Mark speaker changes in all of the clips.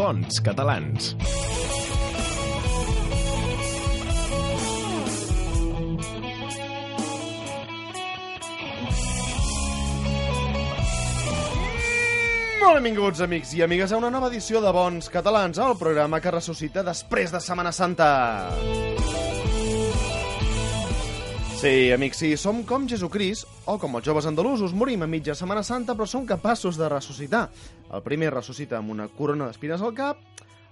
Speaker 1: Bons catalans. Molt benvinguts, amics i amigues, a una nova edició de Bons Catalans, el programa que ressuscita després de Setmana Santa. Sí, amics, sí, som com Jesucrist, o com els joves andalusos, morim a mitja Setmana Santa, però som capaços de ressuscitar. El primer ressuscita amb una corona d'espines al cap,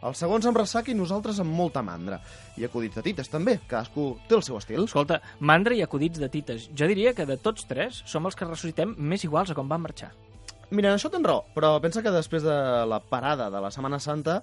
Speaker 1: els segons amb ressaca i nosaltres amb molta mandra. I acudits de tites, també. Cadascú té el seu estil.
Speaker 2: Escolta, mandra i acudits de tites. Jo diria que de tots tres som els que ressuscitem més iguals a com van marxar.
Speaker 1: Mira, en això tens raó, però pensa que després de la parada de la Setmana Santa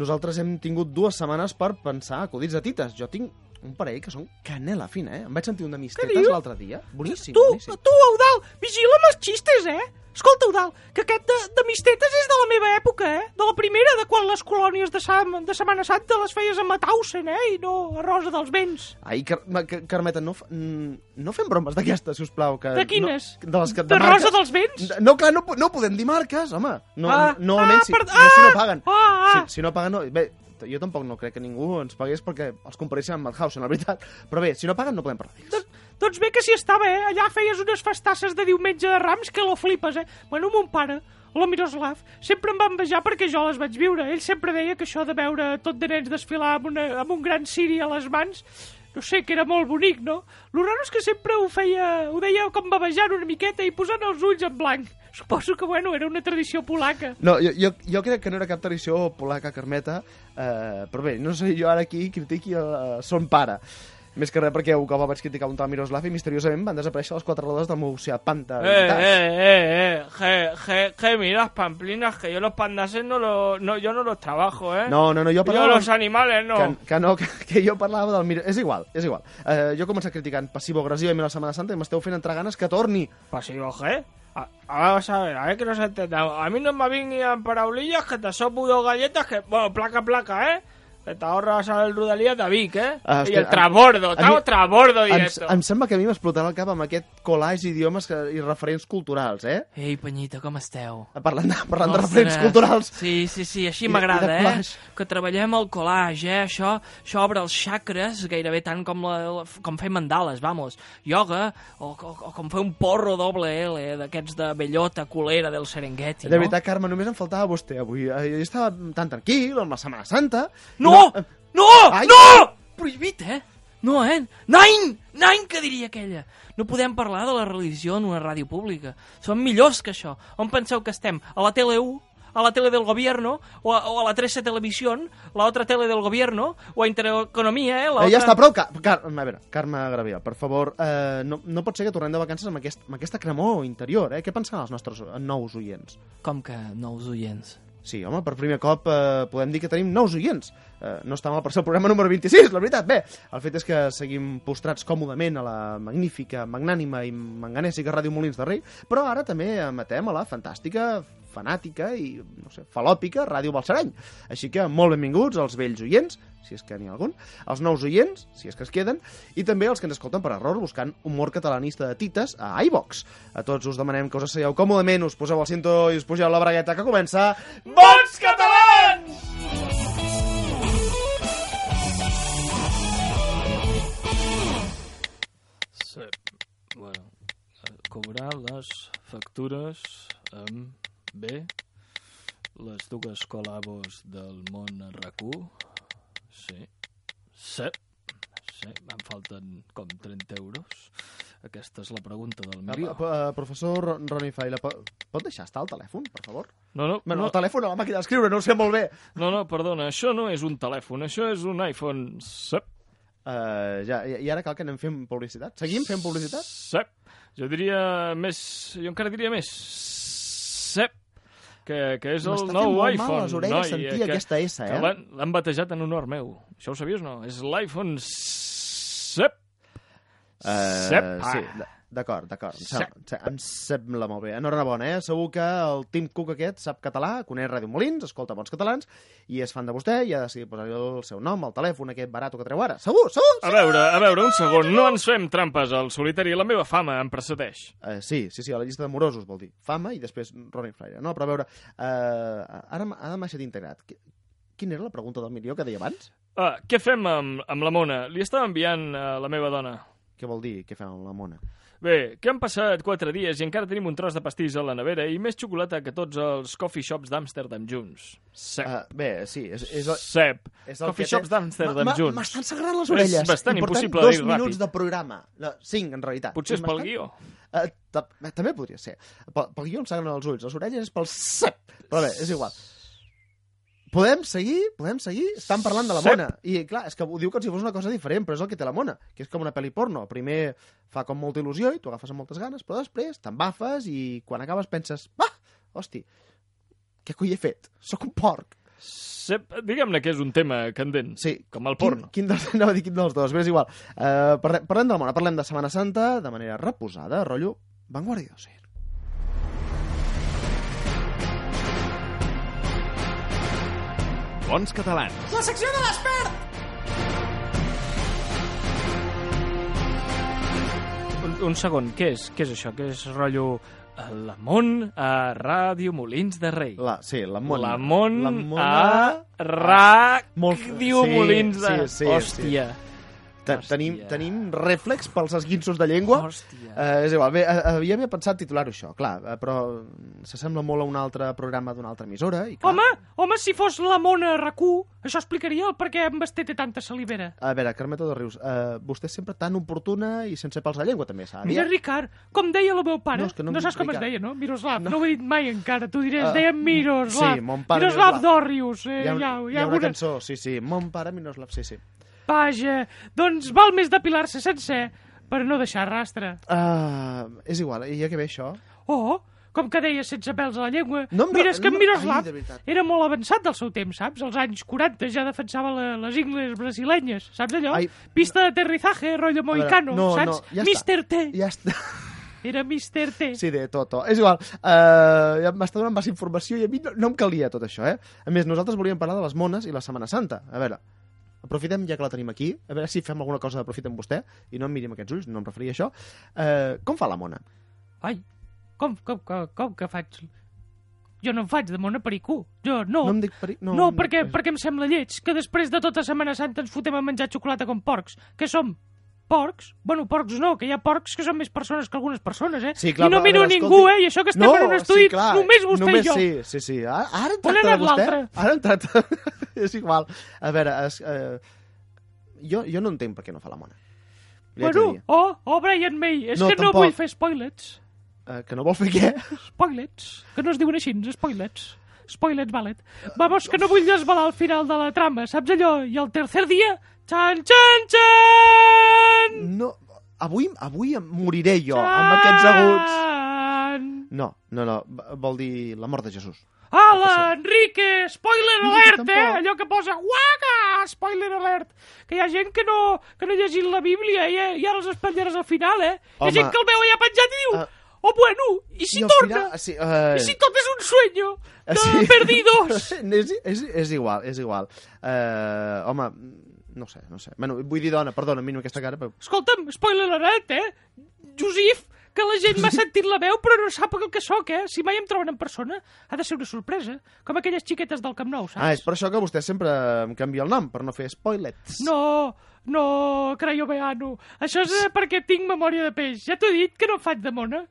Speaker 1: nosaltres hem tingut dues setmanes per pensar acudits de tites. Jo tinc un parell que són canela fina, eh? Em vaig sentir un de mis
Speaker 2: Què
Speaker 1: tetes
Speaker 2: dius?
Speaker 1: l'altre dia. Boníssim,
Speaker 2: tu,
Speaker 1: boníssim.
Speaker 2: tu, Eudal, vigila amb els xistes, eh? Escolta, Eudal, que aquest de, de mistetes és de la meva època, eh? De la primera, de quan les colònies de, Sam, de Setmana Santa les feies a Matausen, eh? I no a Rosa dels Vents.
Speaker 1: Ai, Car ma- Car- Carmeta, no, f- mm, no fem bromes d'aquestes, si us plau. Que
Speaker 2: De quines?
Speaker 1: No, de les que,
Speaker 2: De
Speaker 1: marques.
Speaker 2: Rosa dels Vents?
Speaker 1: No, clar, no, po- no podem dir marques, home. No,
Speaker 2: Ah,
Speaker 1: no
Speaker 2: ah,
Speaker 1: almenys si,
Speaker 2: perd-
Speaker 1: no, si no
Speaker 2: ah,
Speaker 1: paguen.
Speaker 2: ah, ah.
Speaker 1: Si, si no paguen, no. Bé, t- jo tampoc no crec que ningú ens pagués perquè els compareixen amb Madhausen, la veritat. Però bé, si no paguen no podem parlar d'ells.
Speaker 2: Doncs bé que s'hi estava, eh? Allà feies unes festasses de diumenge de Rams que lo flipes, eh? Bueno, mon pare, la Miroslav, sempre em va envejar perquè jo les vaig viure. Ell sempre deia que això de veure tot de nens desfilar amb, una, amb un gran ciri a les mans no sé, que era molt bonic, no? Lo raro és que sempre ho feia, ho deia com babejant una miqueta i posant els ulls en blanc. Suposo que, bueno, era una tradició polaca.
Speaker 1: No, jo, jo, jo crec que no era cap tradició polaca carmeta, eh, però bé, no sé jo ara aquí critiqui eh, son pare. Més que res perquè un cop vaig criticar un tal Miroslav i misteriosament van desaparèixer les quatre rodes del meu oceà panta.
Speaker 2: eh, eh, je, je, je, miras pamplinas, que yo los pandases no, lo, no, yo no los trabajo, eh.
Speaker 1: No, no, no, jo
Speaker 2: Yo
Speaker 1: parlava...
Speaker 2: los animales no.
Speaker 1: Que, que no, que, que jo parlava del Miro... És igual, és igual. Eh, jo he començat criticant passivo-agressivament la Setmana Santa i m'esteu fent entrar ganes que torni.
Speaker 2: Pasivo, ¿eh? A- Ahora vamos a ver, a ver que nos entendamos. A mí no me vinieron paraulillas que te sopo dos galletas que, bueno, placa, placa, ¿eh? Que te ahorras el Rudalía de Vic, ¿eh?
Speaker 1: Ah,
Speaker 2: y
Speaker 1: hòstia,
Speaker 2: el
Speaker 1: a-
Speaker 2: trasbordo,
Speaker 1: a
Speaker 2: estamos
Speaker 1: mi-
Speaker 2: trasbordo
Speaker 1: Em,
Speaker 2: directo.
Speaker 1: em sembla que a mi m'explotarà el cap amb aquest collage d'idiomes que- i referents culturals, eh?
Speaker 3: Ei, Penyita, com esteu?
Speaker 1: Parlant de, parlant de
Speaker 3: Ostres.
Speaker 1: referents culturals.
Speaker 3: Sí, sí, sí,
Speaker 1: I
Speaker 3: així
Speaker 1: de- i
Speaker 3: m'agrada,
Speaker 1: de
Speaker 3: eh?
Speaker 1: collage.
Speaker 3: Que treballem el collage, eh? Això, això obre els xacres gairebé tant com, la, la, com fer mandales, vamos. Yoga, o, o, o com fer un porro doble L, eh? d'aquests de bellota, culera del Serengeti,
Speaker 1: De
Speaker 3: no?
Speaker 1: veritat, Carme, només em faltava vostè avui. Eh, Jo estava tan tranquil amb la Setmana Santa. eh,
Speaker 3: No! No!
Speaker 1: Ai!
Speaker 3: No! Prohibit, eh? No, eh? Nein! Nein, que diria aquella. No podem parlar de la religió en una ràdio pública. Som millors que això. On penseu que estem? A la tele 1? A la tele del gobierno? O a, o a la 13 Televisión? La otra tele del gobierno? O a Intereconomia, eh? La
Speaker 1: eh, ja està,
Speaker 3: otra-
Speaker 1: prou. Car Car a veure, Carme Graviel, per favor, eh, no, no pot ser que tornem de vacances amb, aquest, amb aquesta cremor interior, eh? Què pensen els nostres nous oients?
Speaker 3: Com que nous oients?
Speaker 1: Sí, home, per primer cop eh, podem dir que tenim nous oients. Eh, no està mal per ser el programa número 26, la veritat. Bé, el fet és que seguim postrats còmodament a la magnífica, magnànima i manganèsica Ràdio Molins de Rei, però ara també emetem a la fantàstica, fanàtica i, no sé, falòpica Ràdio Balsarany. Així que molt benvinguts als vells oients, si és que n'hi ha algun, als nous oients, si és que es queden, i també els que ens escolten per error buscant humor catalanista de tites a iVox. A tots us demanem que us asseieu còmodament, us poseu el cinto i us pugeu la bragueta que comença...
Speaker 2: ¡Bons catalans!
Speaker 3: Sí. Bueno, eh, cobrar les factures amb B, les dues col·labos del món a RAC1, sí, sí, sí, em falten com 30 euros. Aquesta és la pregunta del milió.
Speaker 1: Uh, professor Ro- Ronnie Faila, po- pot deixar estar el telèfon, per favor?
Speaker 3: No, no,
Speaker 1: Bueno,
Speaker 3: no,
Speaker 1: el telèfon a la màquina d'escriure, no ho sé molt bé.
Speaker 3: no, no, perdona, això no és un telèfon, això és un iPhone, sí.
Speaker 1: Eh, Uh, ja, I i ara cal que anem fent publicitat. Seguim fent publicitat?
Speaker 3: Sep. Jo diria més... Jo encara diria més... Sep. Que, que és el
Speaker 1: M'està fent
Speaker 3: nou
Speaker 1: molt mal
Speaker 3: iPhone.
Speaker 1: les orelles sentir
Speaker 3: eh, que-
Speaker 1: aquesta S,
Speaker 3: que
Speaker 1: eh?
Speaker 3: l'han- L'han batejat en honor meu. Això ho sabies o no? És l'iPhone Sep. Sep.
Speaker 1: Eh, sí,
Speaker 4: Ah.
Speaker 1: d- d'acord, d'acord. Em, sembla- em se- em sembla molt bé. Enhorabona, eh? Segur que el Tim Cook aquest sap català, coneix Ràdio Molins, escolta bons catalans, i és fan de vostè i ha decidit posar el seu nom al telèfon aquest barat que treu ara. Segur, segur!
Speaker 3: A veure, a veure, un segon. No ens fem trampes al solitari. La meva fama em precedeix.
Speaker 1: Uh, sí, sí, sí, a la llista de morosos, vol dir. Fama i després Ronnie Flaire. No, però a veure, uh, ara, m- ara m'ha deixat integrat. Qui- Quina era la pregunta del milió que deia abans?
Speaker 3: Ah, què fem amb, amb la Mona? Li estava enviant a la meva dona.
Speaker 1: Què vol dir? Què fem amb la mona?
Speaker 3: Bé, que han passat 4 dies i encara tenim un tros de pastís a la nevera i més xocolata que tots els coffee shops d'Amsterdam junts. Sep.
Speaker 1: Uh, bé, sí, és, és, el,
Speaker 3: Sep.
Speaker 1: és el
Speaker 3: Coffee
Speaker 1: que té-
Speaker 3: shops
Speaker 1: Ma-
Speaker 3: d'Amsterdam
Speaker 1: ma-
Speaker 3: junts.
Speaker 1: M'estan sagrant les
Speaker 3: És
Speaker 1: orelles.
Speaker 3: bastant
Speaker 1: I portem
Speaker 3: impossible
Speaker 1: dos
Speaker 3: dir
Speaker 1: minuts
Speaker 3: ràpid.
Speaker 1: de programa. No, cinc, en realitat.
Speaker 3: Potser és
Speaker 1: I
Speaker 3: pel
Speaker 1: m'estan-
Speaker 3: guió.
Speaker 1: Eh, ta- eh, també podria ser. Pel, pel guió em sagren els ulls, les orelles és pel cep. Però bé, és igual. Podem seguir? Podem seguir? Estan parlant de la
Speaker 3: Cep.
Speaker 1: mona. I clar, és que ho diu com si fos una cosa diferent, però és el que té la mona, que és com una pel·li porno. Primer fa com molta il·lusió i tu agafes amb moltes ganes, però després t'embafes i quan acabes penses ah, hosti, què coi he fet? Sóc un porc.
Speaker 3: Sep, diguem-ne que és un tema candent.
Speaker 1: Sí.
Speaker 3: Com el porno.
Speaker 1: Quin, quin, dels, anava a dir quin dels dos, però és igual. Uh, parlem, parlem de la mona, parlem de Setmana Santa de manera reposada, rotllo vanguardiosa.
Speaker 5: Bons catalans.
Speaker 6: La secció de l'expert!
Speaker 3: Un, Ah. un segon, què és? Què és això? Què és rotllo... eh, La Mont a Ràdio Molins de Rei.
Speaker 1: La, sí, la mona.
Speaker 3: La Mont
Speaker 1: La mona...
Speaker 3: a
Speaker 1: Molt-
Speaker 3: Ràdio
Speaker 1: sí,
Speaker 3: Molins de...
Speaker 1: sí, sí,
Speaker 3: Hòstia.
Speaker 1: Te-
Speaker 3: Hòstia.
Speaker 1: Tenim, tenim reflex pels esguinços de llengua.
Speaker 3: Hòstia.
Speaker 1: Eh, és igual, bé, eh, havia, havia pensat titular-ho això, clar, eh, però mm, s'assembla molt a un altre programa d'una altra emissora. I, clar,
Speaker 2: Home, home, si fos la mona RAC1, això explicaria el per què en Basté té tanta salivera.
Speaker 1: A veure, Carmeta de Rius, eh, vostè és sempre tan oportuna i sense pals de llengua, també, s'ha de
Speaker 2: Mira,
Speaker 1: dir.
Speaker 2: Ricard, com deia el meu pare,
Speaker 1: No,
Speaker 2: no,
Speaker 1: és que no em
Speaker 2: no saps
Speaker 1: dic
Speaker 2: com es
Speaker 1: Ricard.
Speaker 2: deia, no? Miroslav, no, ho he dit mai encara, tu diré,
Speaker 1: Ah,
Speaker 2: es deia Miroslav.
Speaker 1: sí, mon pare
Speaker 2: Miroslav
Speaker 1: Miroslav.
Speaker 2: Dòrius, eh,
Speaker 1: un- hi ha
Speaker 2: ja, ja,
Speaker 1: una
Speaker 2: alguna...
Speaker 1: cançó, sí, sí, Mon pare Miroslav, sí, sí.
Speaker 2: Vaja, doncs val més depilar-se sencer per no deixar rastre.
Speaker 1: Uh, és igual, i ja que ve això...
Speaker 2: Oh, com que deia sense pèls a la llengua.
Speaker 1: No
Speaker 2: No,
Speaker 1: em-
Speaker 2: Mira, és que
Speaker 1: no-
Speaker 2: en Miroslav
Speaker 1: ai, de veritat.
Speaker 2: era molt avançat del seu temps, saps? Als anys 40 ja defensava la, les ingles brasilenyes, saps allò?
Speaker 1: Ai,
Speaker 2: Pista d'aterrizaje, rotllo
Speaker 1: a veure,
Speaker 2: mohicano, saps? Mister T.
Speaker 1: Ja està.
Speaker 2: Era Mister T.
Speaker 1: Sí, de tot. tot. És igual, uh, ja m'està donant massa informació i a mi no, no em calia tot això, eh? A més, nosaltres volíem parlar de les mones i la Setmana Santa. A veure, aprofitem ja que la tenim aquí, a veure si fem alguna cosa de profit amb vostè i no em mirim aquests ulls, no em referia a això. Uh, com fa la mona?
Speaker 2: Ai, com, com, com, com que faig... Jo no em faig de mona pericú. Jo no.
Speaker 1: No em dic peri...
Speaker 2: no, perquè, perquè em sembla lleig que després de tota Setmana Santa ens fotem a menjar xocolata com porcs. Que som porcs? Bueno, porcs no, que hi ha porcs que són més persones que algunes persones, eh?
Speaker 1: Sí, clar,
Speaker 2: I no
Speaker 1: però,
Speaker 2: miro
Speaker 1: a veure,
Speaker 2: ningú,
Speaker 1: escolti.
Speaker 2: eh? I això que estem en un estudi,
Speaker 1: clar, eh,
Speaker 2: només vostè
Speaker 1: només
Speaker 2: i jo.
Speaker 1: Sí, sí, sí. Ara, ara en
Speaker 2: On ha
Speaker 1: tracta de
Speaker 2: anat
Speaker 1: vostè.
Speaker 2: l'altre?
Speaker 1: Ara en tracta... és igual. A veure, es, eh, jo, jo no entenc per què no fa la mona. Li haig de
Speaker 2: Bueno,
Speaker 1: dir.
Speaker 2: oh, oh, Brian May, és
Speaker 1: No,
Speaker 2: que
Speaker 1: tampoc.
Speaker 2: no vull fer spoilers.
Speaker 1: Eh, que no vol fer què?
Speaker 2: Spoilers, que no es diuen així, spoilers. Spoilers, valet. Vamos, que no vull desvelar el final de la trama, saps allò? I el tercer dia, xan, xan, xan!
Speaker 1: No, avui, avui em moriré jo, Oh, amb aquests aguts.
Speaker 2: Xan!
Speaker 1: No, no, no, v- vol dir la mort de Jesús.
Speaker 2: Hola, Enrique! Spoiler
Speaker 1: Mira,
Speaker 2: alert,
Speaker 1: tampoc.
Speaker 2: eh? Allò que posa guaca! Spoiler alert! Que hi ha gent que no, que no ha llegit la Bíblia i, i ara els espatllaràs al final, eh? Hi
Speaker 1: Home.
Speaker 2: ha gent que el veu allà penjat i diu
Speaker 1: Ah.
Speaker 2: Oh, bueno, i si
Speaker 1: al
Speaker 2: torna?
Speaker 1: final- Sí, eh,
Speaker 2: I si tot és un sueño?
Speaker 1: eh,
Speaker 2: De perdidos!
Speaker 1: és, és, és igual, és igual. Eh, home, no sé, no sé. Bueno, vull dir dona, perdona, miro aquesta cara, però...
Speaker 2: Escolta'm, spoiler alert, eh? Josif, que la gent m'ha sentit la veu però no sap el que sóc, eh? Si mai em troben en persona, ha de ser una sorpresa. Com aquelles xiquetes del Camp Nou, saps?
Speaker 1: Ah, és per això que vostè sempre em canvia el nom, per no fer spoilers.
Speaker 2: No, no, Crayoveano. Això és eh, perquè tinc memòria de peix. Ja t'ho he dit que no em faig de mona.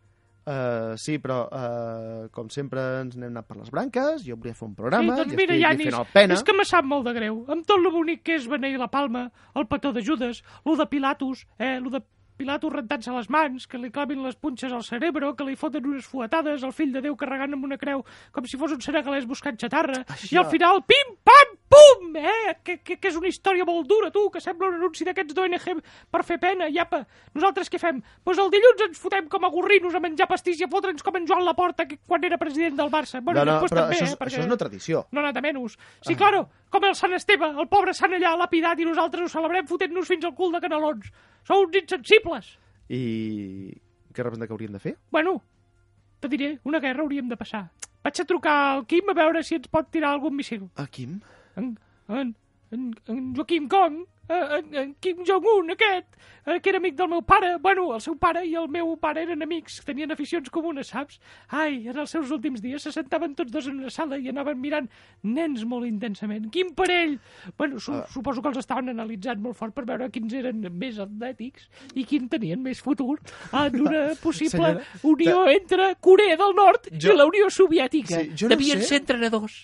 Speaker 1: Eh, sí, però eh, com sempre ens n'hem anat per les branques, jo volia fer un
Speaker 2: Sí,
Speaker 1: programa,
Speaker 2: doncs
Speaker 1: li
Speaker 2: mira,
Speaker 1: estic
Speaker 2: Janis,
Speaker 1: fent el pena.
Speaker 2: és que me sap molt de greu. Amb tot lo bonic que és beneir la palma, el petó de Judas, lo de Pilatus, eh, lo de Pilatus rentant-se les mans, que li clavin les punxes al cerebro, que li foten unes fuetades, el fill de Déu carregant amb una creu com si fos un senegalès buscant xatarra, i al final, pim, pam, Pum! Eh? Que, que, que és una història molt dura, tu, que sembla un anunci d'aquests d'ONG per fer pena, i apa, nosaltres què fem? Doncs pues el dilluns ens fotem com a gorrinos a menjar pastís i a fotre'ns com en Joan Laporta que, quan era president del Barça.
Speaker 1: no,
Speaker 2: Bueno,
Speaker 1: no,
Speaker 2: després
Speaker 1: però
Speaker 2: també,
Speaker 1: això, és,
Speaker 2: eh, perquè...
Speaker 1: això és una tradició.
Speaker 2: No ha anat a menys. Sí, claro, com el Sant Esteve, el pobre Sant allà lapidat i nosaltres ho celebrem fotent-nos fins al cul de canelons. Sou uns insensibles.
Speaker 1: I què representa que hauríem de fer?
Speaker 2: Bueno, te diré, una guerra hauríem de passar. Vaig a trucar al Quim a veure si ens pot tirar algun missil.
Speaker 1: A Quim?
Speaker 2: En, en, en, en Joaquim Kong, en, en Kim Jong-un, aquest, eh, que era amic del meu pare. Bueno, el seu pare i el meu pare eren amics, tenien aficions comunes, saps? Ai, en els seus últims dies se sentaven tots dos en una sala i anaven mirant nens molt intensament. Quin parell! Bueno,
Speaker 1: Ah.
Speaker 2: su, suposo que els estaven analitzant molt fort per veure quins eren més atlètics i quin tenien més futur en una possible
Speaker 1: Senyora,
Speaker 2: unió entre Corea del Nord
Speaker 1: Jo-
Speaker 2: i la Unió Soviètica.
Speaker 1: Sí, jo no
Speaker 2: Devien
Speaker 1: sé.
Speaker 2: ser entrenadors.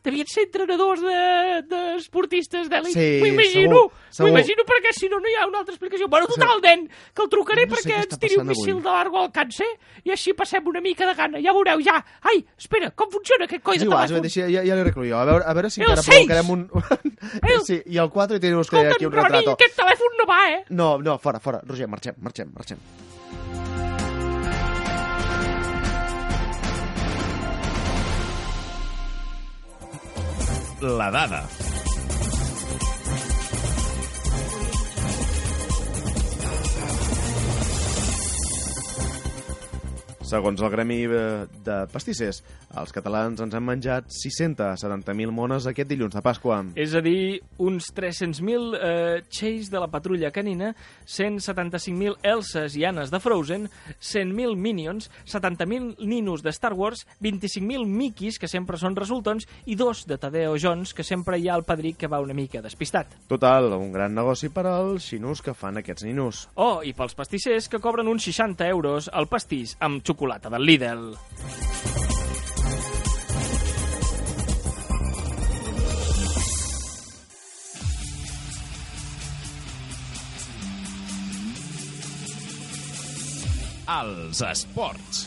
Speaker 2: Devien ser entrenadors de- d'esportistes de, d'elit.
Speaker 1: Sí,
Speaker 2: M'ho imagino,
Speaker 1: segur,
Speaker 2: m'ho
Speaker 1: segur.
Speaker 2: imagino perquè si no, no hi ha una altra explicació. Bueno, total, nen, que el trucaré
Speaker 1: No sé
Speaker 2: perquè
Speaker 1: què
Speaker 2: ens
Speaker 1: està
Speaker 2: tiri un
Speaker 1: passant avui.
Speaker 2: missil de largo alcance i així passem una mica de gana. Ja veureu, ja. Ai, espera, com funciona aquest
Speaker 1: ah,
Speaker 2: coi
Speaker 1: És
Speaker 2: de
Speaker 1: igual,
Speaker 2: telèfon?
Speaker 1: deixa, ja, ja l'he reclu jo. A veure, a veure si
Speaker 2: El
Speaker 1: encara
Speaker 2: seis!
Speaker 1: provocarem un...
Speaker 2: El-
Speaker 1: sí, I el 4 i teniu vostè
Speaker 2: Escolta,
Speaker 1: aquí un
Speaker 2: Roni,
Speaker 1: retrato.
Speaker 2: aquest telèfon no va, eh?
Speaker 1: No, no, fora, fora. Roger, marxem, marxem, marxem.
Speaker 5: La dada.
Speaker 1: Segons el Gremi eh, de Pastissers, els catalans ens han menjat 670.000 mones aquest dilluns de Pasqua.
Speaker 4: És a dir, uns 300.000 eh, Chase de la patrulla canina, 175.000 Elses i Annes de Frozen, 100.000 Minions, 70.000 ninos de Star Wars, 25.000 Mickeys, que sempre són resultons, i dos de Tadeo Jones, que sempre hi ha el padrí que va una mica despistat.
Speaker 1: Total, un gran negoci per als xinus que fan aquests ninos.
Speaker 4: Oh, i pels pastissers que cobren uns 60 euros el pastís amb xocolata del Lidl.
Speaker 5: Els esports.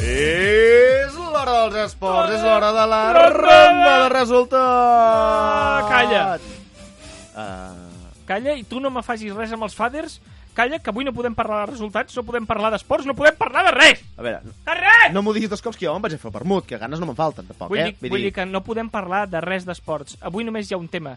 Speaker 1: És l'hora dels esports, és l'hora de la
Speaker 4: Ronda de-
Speaker 1: ronda de resultats.
Speaker 4: Ah, calla.
Speaker 1: Uh,
Speaker 4: Calla, i tu no me facis res amb els faders. Calla, que avui no podem parlar de resultats, no podem parlar d'esports, no podem parlar de res!
Speaker 1: a veure,
Speaker 4: De res!
Speaker 1: no m'ho diguis dos cops que jo me'n vaig a fer el vermut, que ganes no me'n falten, tampoc,
Speaker 4: Vull,
Speaker 1: eh?
Speaker 4: dir, vull dir que no podem parlar de res d'esports. Avui només hi ha un tema.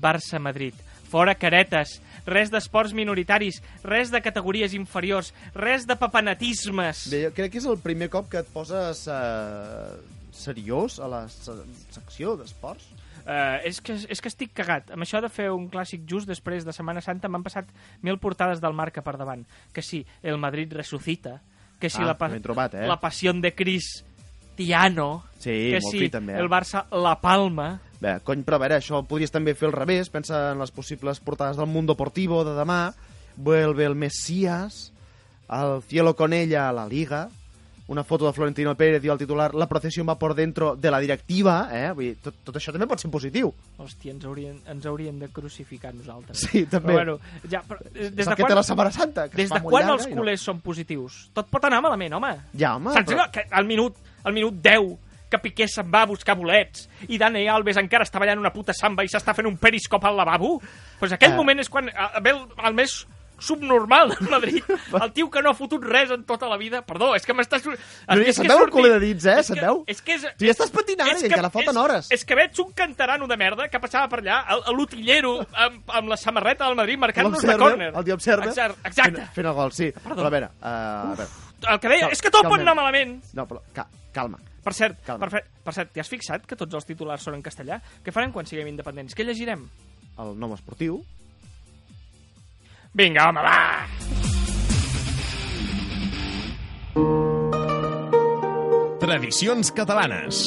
Speaker 4: Barça-Madrid. Fora caretes. Res d'esports minoritaris. Res de categories inferiors. Res de papanatismes.
Speaker 1: Bé, jo crec que és el primer cop que et poses eh, seriós a la se secció d'esports.
Speaker 4: Eh, és, que, és que estic cagat. Amb això de fer un clàssic just després de Setmana Santa m'han passat mil portades del marca per davant. Que si el Madrid ressuscita, que si
Speaker 1: Ah,
Speaker 4: la, pa
Speaker 1: ben trobat, eh?
Speaker 4: la passió de Cris Tiano,
Speaker 1: Sí,
Speaker 4: que
Speaker 1: molt
Speaker 4: si
Speaker 1: fi, també, eh?
Speaker 4: el Barça La Palma...
Speaker 1: Bé, cony, però a veure, això ho podries també fer al revés. Pensa en les possibles portades del Mundo Deportivo de demà. Vuelve el Mesías. El Cielo con ella a la Liga. Una foto de Florentino Pérez i el titular La procesión va por dentro de la directiva. Eh? Vull dir, tot, tot això també pot ser positiu.
Speaker 4: Hòstia, ens haurien, ens haurien de crucificar nosaltres.
Speaker 1: Sí, també.
Speaker 4: Però, bueno, ja, però, eh,
Speaker 1: Des és
Speaker 4: des de
Speaker 1: el que té
Speaker 4: quan,
Speaker 1: la Setmana Santa. Que
Speaker 4: des
Speaker 1: es fa
Speaker 4: de
Speaker 1: molt
Speaker 4: quan
Speaker 1: llarga
Speaker 4: els
Speaker 1: i
Speaker 4: culers són positius? Tot pot anar malament, home.
Speaker 1: No. Ja, home,
Speaker 4: Saps
Speaker 1: però...
Speaker 4: allò que al minut, al minut 10 que Piqué se'n va a buscar bolets i Dani Alves encara està ballant una puta samba i s'està fent un periscop al lavabo? Doncs pues aquell
Speaker 1: Eh.
Speaker 4: moment és quan eh, ve el, el més subnormal de Madrid. El tio que no ha fotut res en tota la vida. Perdó, és que m'estàs...
Speaker 1: No,
Speaker 4: és
Speaker 1: se't
Speaker 4: que
Speaker 1: veu el
Speaker 4: sortit-
Speaker 1: culer de dits, eh?
Speaker 4: és
Speaker 1: Se't
Speaker 4: que-
Speaker 1: veu?
Speaker 4: És que és...
Speaker 1: Tu ja estàs patinant,
Speaker 4: és
Speaker 1: i encara falten
Speaker 4: és,
Speaker 1: hores.
Speaker 4: És que veig un cantarano de merda que passava per allà, el- l'utillero amb, amb la samarreta del Madrid marcant-nos de
Speaker 1: L'observa,
Speaker 4: córner.
Speaker 1: El dia observa.
Speaker 4: Exacte.
Speaker 1: Fent,
Speaker 4: exacte.
Speaker 1: fent el gol, sí.
Speaker 4: Perdó.
Speaker 1: Però a veure... Uh, a veure.
Speaker 4: El que deia,
Speaker 1: Cal-
Speaker 4: és que tot pot
Speaker 1: calmem.
Speaker 4: anar malament.
Speaker 1: No, però ca calma.
Speaker 4: Per cert,
Speaker 1: Calma.
Speaker 4: per, fe, per cert, t'hi has fixat que tots els titulars són en castellà? Què farem quan siguem independents? Què llegirem?
Speaker 1: El nom esportiu...
Speaker 4: Vinga, home, va!
Speaker 5: Tradicions catalanes.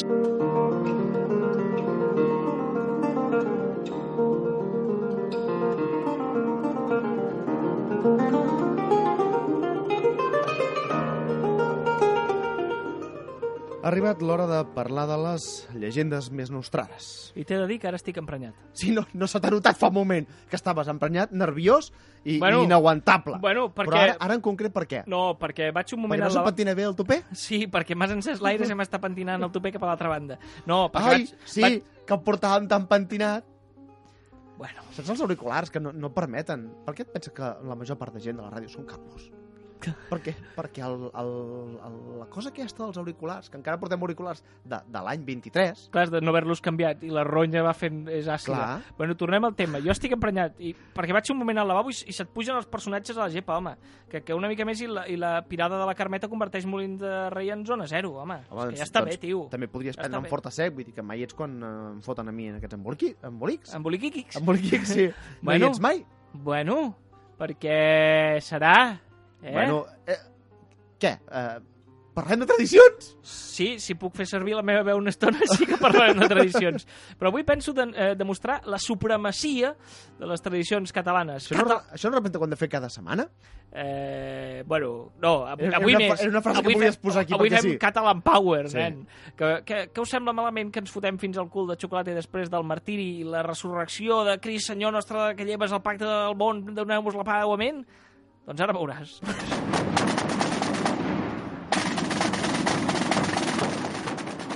Speaker 1: Ha arribat l'hora de parlar de les llegendes més nostrades.
Speaker 4: I t'he de dir que ara estic emprenyat.
Speaker 1: Si no, no se t'ha notat fa un moment que estaves emprenyat, nerviós i,
Speaker 4: Bueno,
Speaker 1: i inaguantable.
Speaker 4: bueno, perquè-
Speaker 1: Però ara, ara en concret per què?
Speaker 4: No, perquè vaig un moment...
Speaker 1: perquè
Speaker 4: al
Speaker 1: vas a
Speaker 4: lavabo-
Speaker 1: patinar bé el topè?
Speaker 4: Sí, perquè m'has encès l'aire i se m'està pentinant el topè cap a l'altra banda. No, perquè
Speaker 1: Ai,
Speaker 4: vaig...
Speaker 1: sí,
Speaker 4: Vaig...
Speaker 1: que el portàvem tan pentinat.
Speaker 4: Bueno,
Speaker 1: Saps els auriculars que no, no permeten? Per què et penses que la major part de gent de la ràdio són capos? Per què? Perquè el, el, el, la cosa aquesta dels auriculars, que encara portem auriculars de, de l'any 23,
Speaker 4: clar, de no haver-los canviat i la ronya va fent... és àcida.
Speaker 1: Clar.
Speaker 4: Bueno, tornem al tema. Jo estic emprenyat i, perquè vaig un moment al lavabo i, s- i se't pugen els personatges a la gepa, home. Que, que una mica més i la, i la pirada de la Carmeta converteix Molins de Rei en zona zero, home. home és que ja està bé, tio.
Speaker 1: doncs, També podries
Speaker 4: Ja
Speaker 1: prendre
Speaker 4: està
Speaker 1: un
Speaker 4: bé.
Speaker 1: fort a sec, vull dir que mai ets quan eh, em foten a mi en aquests emboliqui, embolics.
Speaker 4: Emboliquiquics.
Speaker 1: Emboliquics, sí.
Speaker 4: Bueno.
Speaker 1: No hi ets mai.
Speaker 4: Bueno, perquè serà... Eh?
Speaker 1: Bueno, eh, què? Eh, parlem de tradicions?
Speaker 4: Sí, si puc fer servir la meva veu una estona sí que parlarem de tradicions. Però avui penso de, eh, demostrar la supremacia de les tradicions catalanes.
Speaker 1: Això no,
Speaker 4: Cata-
Speaker 1: això no repente quan de fer cada setmana?
Speaker 4: eh, bueno, no, avui,
Speaker 1: Era
Speaker 4: avui
Speaker 1: una fra-
Speaker 4: més.
Speaker 1: era una frase que
Speaker 4: avui
Speaker 1: volies
Speaker 4: fem-
Speaker 1: posar aquí
Speaker 4: Avui
Speaker 1: perquè
Speaker 4: fem
Speaker 1: sí.
Speaker 4: Catalan Power,
Speaker 1: Sí.
Speaker 4: sí. nen. Que, que, que us sembla malament que ens fotem fins al cul de xocolata després del martiri i la resurrecció de Cris, senyor nostre, que lleves el pacte del món, doneu-vos la pau amén? Doncs ara veuràs.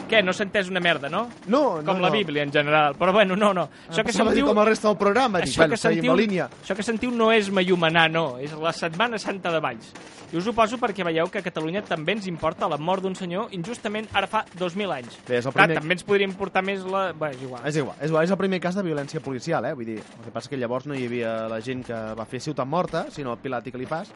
Speaker 4: Què, no s'entès una merda, no?
Speaker 1: No, no,
Speaker 4: Com la
Speaker 1: no.
Speaker 4: Bíblia en general, però bueno, no, no.
Speaker 1: Això que sentiu... Com el resta del programa. Dic,
Speaker 4: Això,
Speaker 1: bueno,
Speaker 4: que
Speaker 1: seguim
Speaker 4: sentiu,
Speaker 1: la línia.
Speaker 4: això que sentiu no és Mayumanar, no, és la Setmana Santa de Valls. I us ho poso perquè veieu que a Catalunya també ens importa la mort d'un senyor injustament ara fa 2.000 anys.
Speaker 1: Bé, és el
Speaker 4: Clar,
Speaker 1: primer-
Speaker 4: també ens podria importar més la... Bé, és igual.
Speaker 1: És igual, és igual, és el primer cas de violència policial, eh? Vull dir, el que passa és que llavors no hi havia la gent que va fer Ciutat Morta, sinó el Pilat i Califàs,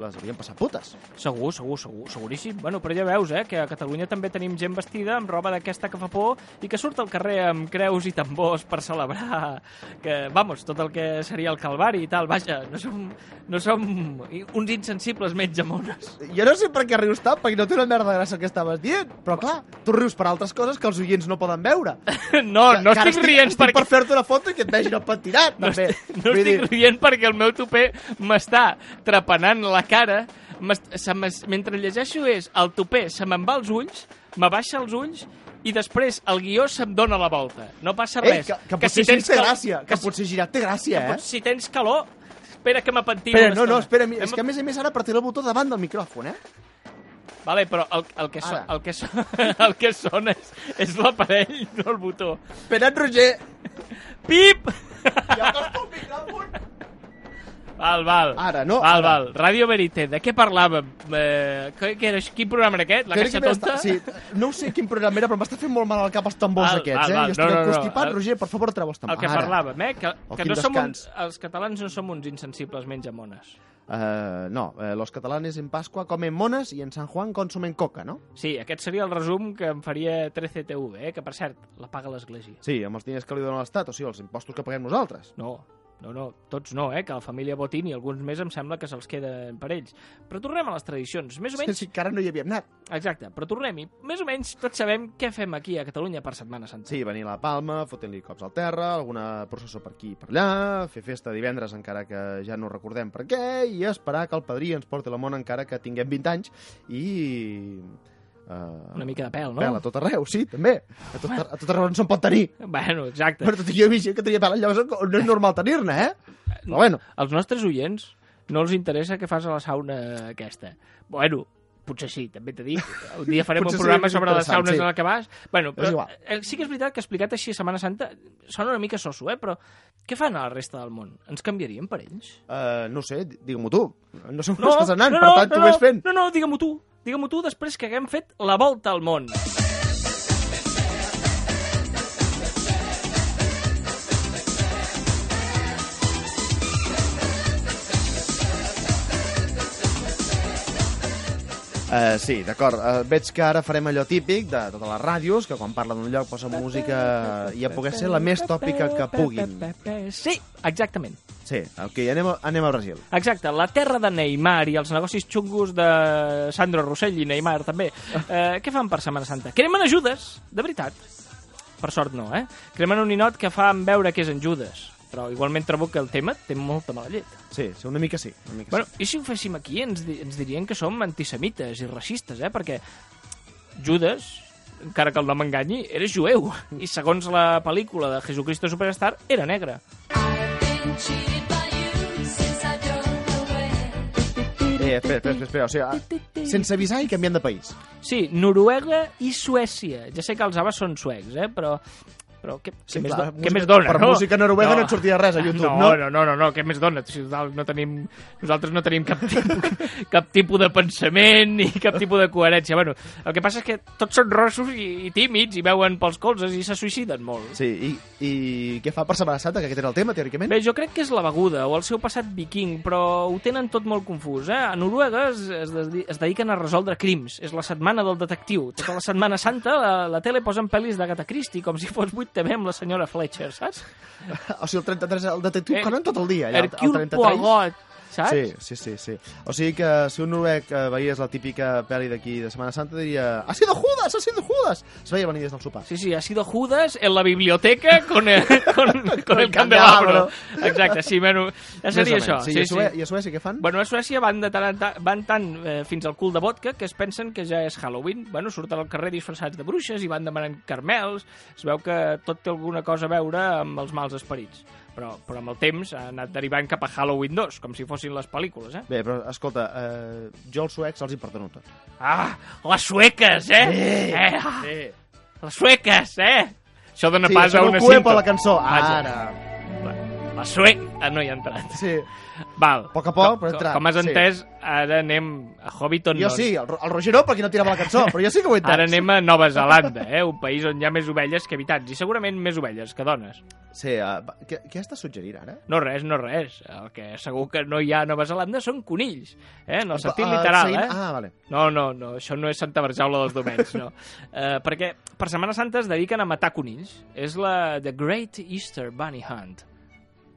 Speaker 1: les havien passat putes.
Speaker 4: Segur, segur, segur, seguríssim. Bueno, però ja veus, eh, que a Catalunya també tenim gent vestida amb roba d'aquesta que fa por i que surt al carrer amb creus i tambors per celebrar que, vamos, tot el que seria el calvari i tal. Vaja, no som, no som uns insensibles metgemones.
Speaker 1: Jo no sé per què rius tant, perquè no té una merda de gràcia el que estaves dient, però clar, tu rius per altres coses que els oients no poden veure.
Speaker 4: No, no
Speaker 1: Que ara
Speaker 4: estic rient
Speaker 1: estic per
Speaker 4: perquè...
Speaker 1: fer-te una foto i que et vegin el pentinat,
Speaker 4: No,
Speaker 1: també.
Speaker 4: estic, no estic rient perquè el meu topè m'està trepanant la cara. m'est- se m'es- Mentre llegeixo és el topè se me'n va als ulls, me baixa els ulls i després el guió se'm dóna la volta. No passa
Speaker 1: Ei,
Speaker 4: res.
Speaker 1: que, que, potser si té
Speaker 4: cal-
Speaker 1: gràcia, que,
Speaker 4: si-
Speaker 1: potser girat té gràcia, eh?
Speaker 4: pot- si tens calor, espera que m'apentino
Speaker 1: Espera,
Speaker 4: una
Speaker 1: no, no,
Speaker 4: estona.
Speaker 1: espera, mi-
Speaker 4: Em-
Speaker 1: és que a més a més ara apretaré el botó davant del micròfon, eh?
Speaker 4: Vale, però el, el, que, so,
Speaker 1: Ara.
Speaker 4: el, que, so, el que sona és, és l'aparell, no el botó.
Speaker 1: Espera't, Roger!
Speaker 4: Pip!
Speaker 1: Ja acosta el micròfon!
Speaker 4: Val, val.
Speaker 1: Ara, no,
Speaker 4: Val,
Speaker 1: ara.
Speaker 4: val. Ràdio Verité, de què parlàvem? Eh, que, que era, quin programa era aquest? La
Speaker 1: Crec
Speaker 4: Caixa
Speaker 1: que m'he
Speaker 4: Tonta?
Speaker 1: estat- Sí, no ho sé quin programa era, però m'està fent molt mal al cap els tambors
Speaker 4: Val,
Speaker 1: aquests,
Speaker 4: val,
Speaker 1: eh?
Speaker 4: val.
Speaker 1: Jo estic
Speaker 4: No, no, no.
Speaker 1: constipat,
Speaker 4: El-
Speaker 1: Roger, per favor, treu-vos
Speaker 4: El que parlàvem, eh? Que,
Speaker 1: Oh,
Speaker 4: que
Speaker 1: quin
Speaker 4: no som uns,
Speaker 1: descans.
Speaker 4: els catalans no som uns insensibles menjamones.
Speaker 1: Eh, no, eh, los catalanes en Pascua comen mones i en San Juan consumen coca, no?
Speaker 4: Sí, aquest seria el resum que em faria 13TV, eh? Que, per cert, la paga l'Església.
Speaker 1: Sí, amb els diners que li dona l'Estat, o sigui, els impostos que paguem nosaltres.
Speaker 4: No, no, no, tots no, eh? Que la família Botín i alguns més em sembla que se'ls queden per ells. Però tornem a les tradicions. Més o
Speaker 1: Sí,
Speaker 4: menys...
Speaker 1: sí, que ara no hi havíem anat.
Speaker 4: Exacte, però tornem-hi. Més o menys tots sabem què fem aquí a Catalunya per Setmana Santa.
Speaker 1: Sí, venir a la Palma, fotent-li cops al terra, alguna processó per aquí i per allà, fer festa divendres encara que ja no recordem per què, i esperar que el padrí ens porti la mona encara que tinguem 20 anys, i... eh,
Speaker 4: Una mica de pèl, no?
Speaker 1: Pèl a tot arreu, sí, també. A tot, a tot arreu on se'n pot tenir.
Speaker 4: Bueno, exacte.
Speaker 1: Però tot i que jo he vist gent que tenia pèl, llavors no és normal tenir-ne, eh? Però bueno,
Speaker 4: als nostres oients no els interessa què fas a la sauna aquesta. Bueno, potser sí, també t'he dit. Un dia farem un
Speaker 1: Potser sí,
Speaker 4: programa
Speaker 1: és
Speaker 4: sobre les
Speaker 1: interessant,
Speaker 4: saunes
Speaker 1: sí.
Speaker 4: en el que vas. Bueno, però
Speaker 1: igual.
Speaker 4: eh, sí que és veritat que explicat així a Setmana Santa sona una mica soso, eh? Però què fan a la resta del món? Ens canviaríem per ells?
Speaker 1: eh, no ho sé, di- digue-m'ho tu. No sé on estàs anant, per tant, tu
Speaker 4: no,
Speaker 1: vés fent.
Speaker 4: No, no, digue-m'ho tu. Digue-m'ho tu després que haguem fet la volta al món.
Speaker 1: Eh, sí, d'acord. Eh, veig que ara farem allò típic de totes les ràdios, que quan parla d'un lloc posa música i a poder ser la més tòpica que puguin.
Speaker 4: Sí, exactament.
Speaker 1: Sí, ok, anem a, anem a Brasil.
Speaker 4: Exacte, la terra de Neymar i els negocis xungos de Sandro Rossell i Neymar també. Eh, què fan per Setmana Santa? Cremen a Judes, de veritat. Per sort no, eh? Cremen un ninot que fan veure que és en Judes. Però igualment trobo que el tema té molta mala llet.
Speaker 1: Sí, sí, una mica sí. Una mica
Speaker 4: Bueno, i si ho féssim aquí ens, di- ens dirien que som antisemites i racistes, eh? Perquè Judes encara que el nom enganyi, era jueu. I segons la pel·lícula de Jesucristo Superstar, era negre.
Speaker 1: Eh, espera, espera, espera, o sigui, ah, sense avisar i canviant de país.
Speaker 4: Sí, Noruega i Suècia. Ja sé que els abans són suecs, eh? però... Però què, què,
Speaker 1: Sí,
Speaker 4: més,
Speaker 1: clar,
Speaker 4: do,
Speaker 1: música-
Speaker 4: què més dona,
Speaker 1: per
Speaker 4: no?
Speaker 1: música noruega no et sortia res a YouTube,
Speaker 4: no?
Speaker 1: no?
Speaker 4: No, no, no, no, què més dona? Si total, no tenim, nosaltres no tenim cap tipus, cap tipus de pensament ni cap tipus de coherència. Bueno, el que passa és que tots són rossos i, i tímids i veuen pels colzes i se suïciden molt.
Speaker 1: Sí, i, i què fa per Setmana Santa, que aquest era el tema, teòricament?
Speaker 4: Bé, jo crec que és la beguda o el seu passat viking, però ho tenen tot molt confús. Eh? A Noruega es, es, dedi- es dediquen a resoldre crims. És la setmana del detectiu. Tota la setmana santa la, la tele posen pel·lis d'Agatha Christie, com si fos 8 també amb la senyora Fletcher, saps?
Speaker 1: O sigui, el 33, el detectiu
Speaker 4: Eh,
Speaker 1: eh, Conan tot el dia. allà, el- el
Speaker 4: Hercule
Speaker 1: 33.
Speaker 4: Poirot, saps?
Speaker 1: Sí, sí, sí, sí. O sigui que si un noruec eh, veiés la típica pel·li d'aquí de Setmana Santa diria ha sido Judas, ha sido Judas! Es veia venir des del sopar.
Speaker 4: Sí, sí, ha sido Judas en la biblioteca con el, con, con el
Speaker 1: el
Speaker 4: candelabro.
Speaker 1: candelabro.
Speaker 4: Exacte, sí, bueno, ja seria
Speaker 1: Més o
Speaker 4: això.
Speaker 1: menys. Sí, I a Suè- i a Suècia què fan?
Speaker 4: Bueno, a Suècia van, de tant, en tant, van tant eh, fins al cul de vodka que es pensen que ja és Halloween. Bueno, surten al carrer disfressats de bruixes i van demanant carmels. Es veu que tot té alguna cosa a veure amb els mals esperits. Però, però amb el temps ha anat derivant cap a Halloween 2, com si fossin les pel·lícules, eh?
Speaker 1: Bé, però escolta, eh, jo als suecs els hi perdono tot.
Speaker 4: Ah, les sueques, eh? Eh, ah,
Speaker 1: Eh,
Speaker 4: les sueques, eh? Això dona
Speaker 1: sí,
Speaker 4: pas a
Speaker 1: això no
Speaker 4: una
Speaker 1: ho cuepa
Speaker 4: cinta.
Speaker 1: la cançó.
Speaker 4: Vaja.
Speaker 1: Ara.
Speaker 4: La sue... Ah, no hi ha entrat.
Speaker 1: Sí.
Speaker 4: Val.
Speaker 1: A poc a poc,
Speaker 4: Com-
Speaker 1: però he entrat,
Speaker 4: Com has
Speaker 1: sí.
Speaker 4: entès, ara anem a Hobbiton
Speaker 1: Jo
Speaker 4: Nord.
Speaker 1: sí, el, Ro- el Roger no, perquè no tirava la cançó, però jo sí que ho he entès.
Speaker 4: Ara anem a Nova Zelanda, eh? un país on hi ha més ovelles que habitants, i segurament més ovelles que dones.
Speaker 1: Sí, eh, va- què, què has de suggerir ara?
Speaker 4: No res, no res. El que segur que no hi ha a Nova Zelanda són conills, eh? en el sentit
Speaker 1: Eh,
Speaker 4: literal.
Speaker 1: seguint-
Speaker 4: Eh?
Speaker 1: Ah, vale.
Speaker 4: No, no, no, això no és Santa Barjaula dels Domenys, no. Eh, perquè per Setmana Santa es dediquen a matar conills. És la The Great Easter Bunny Hunt.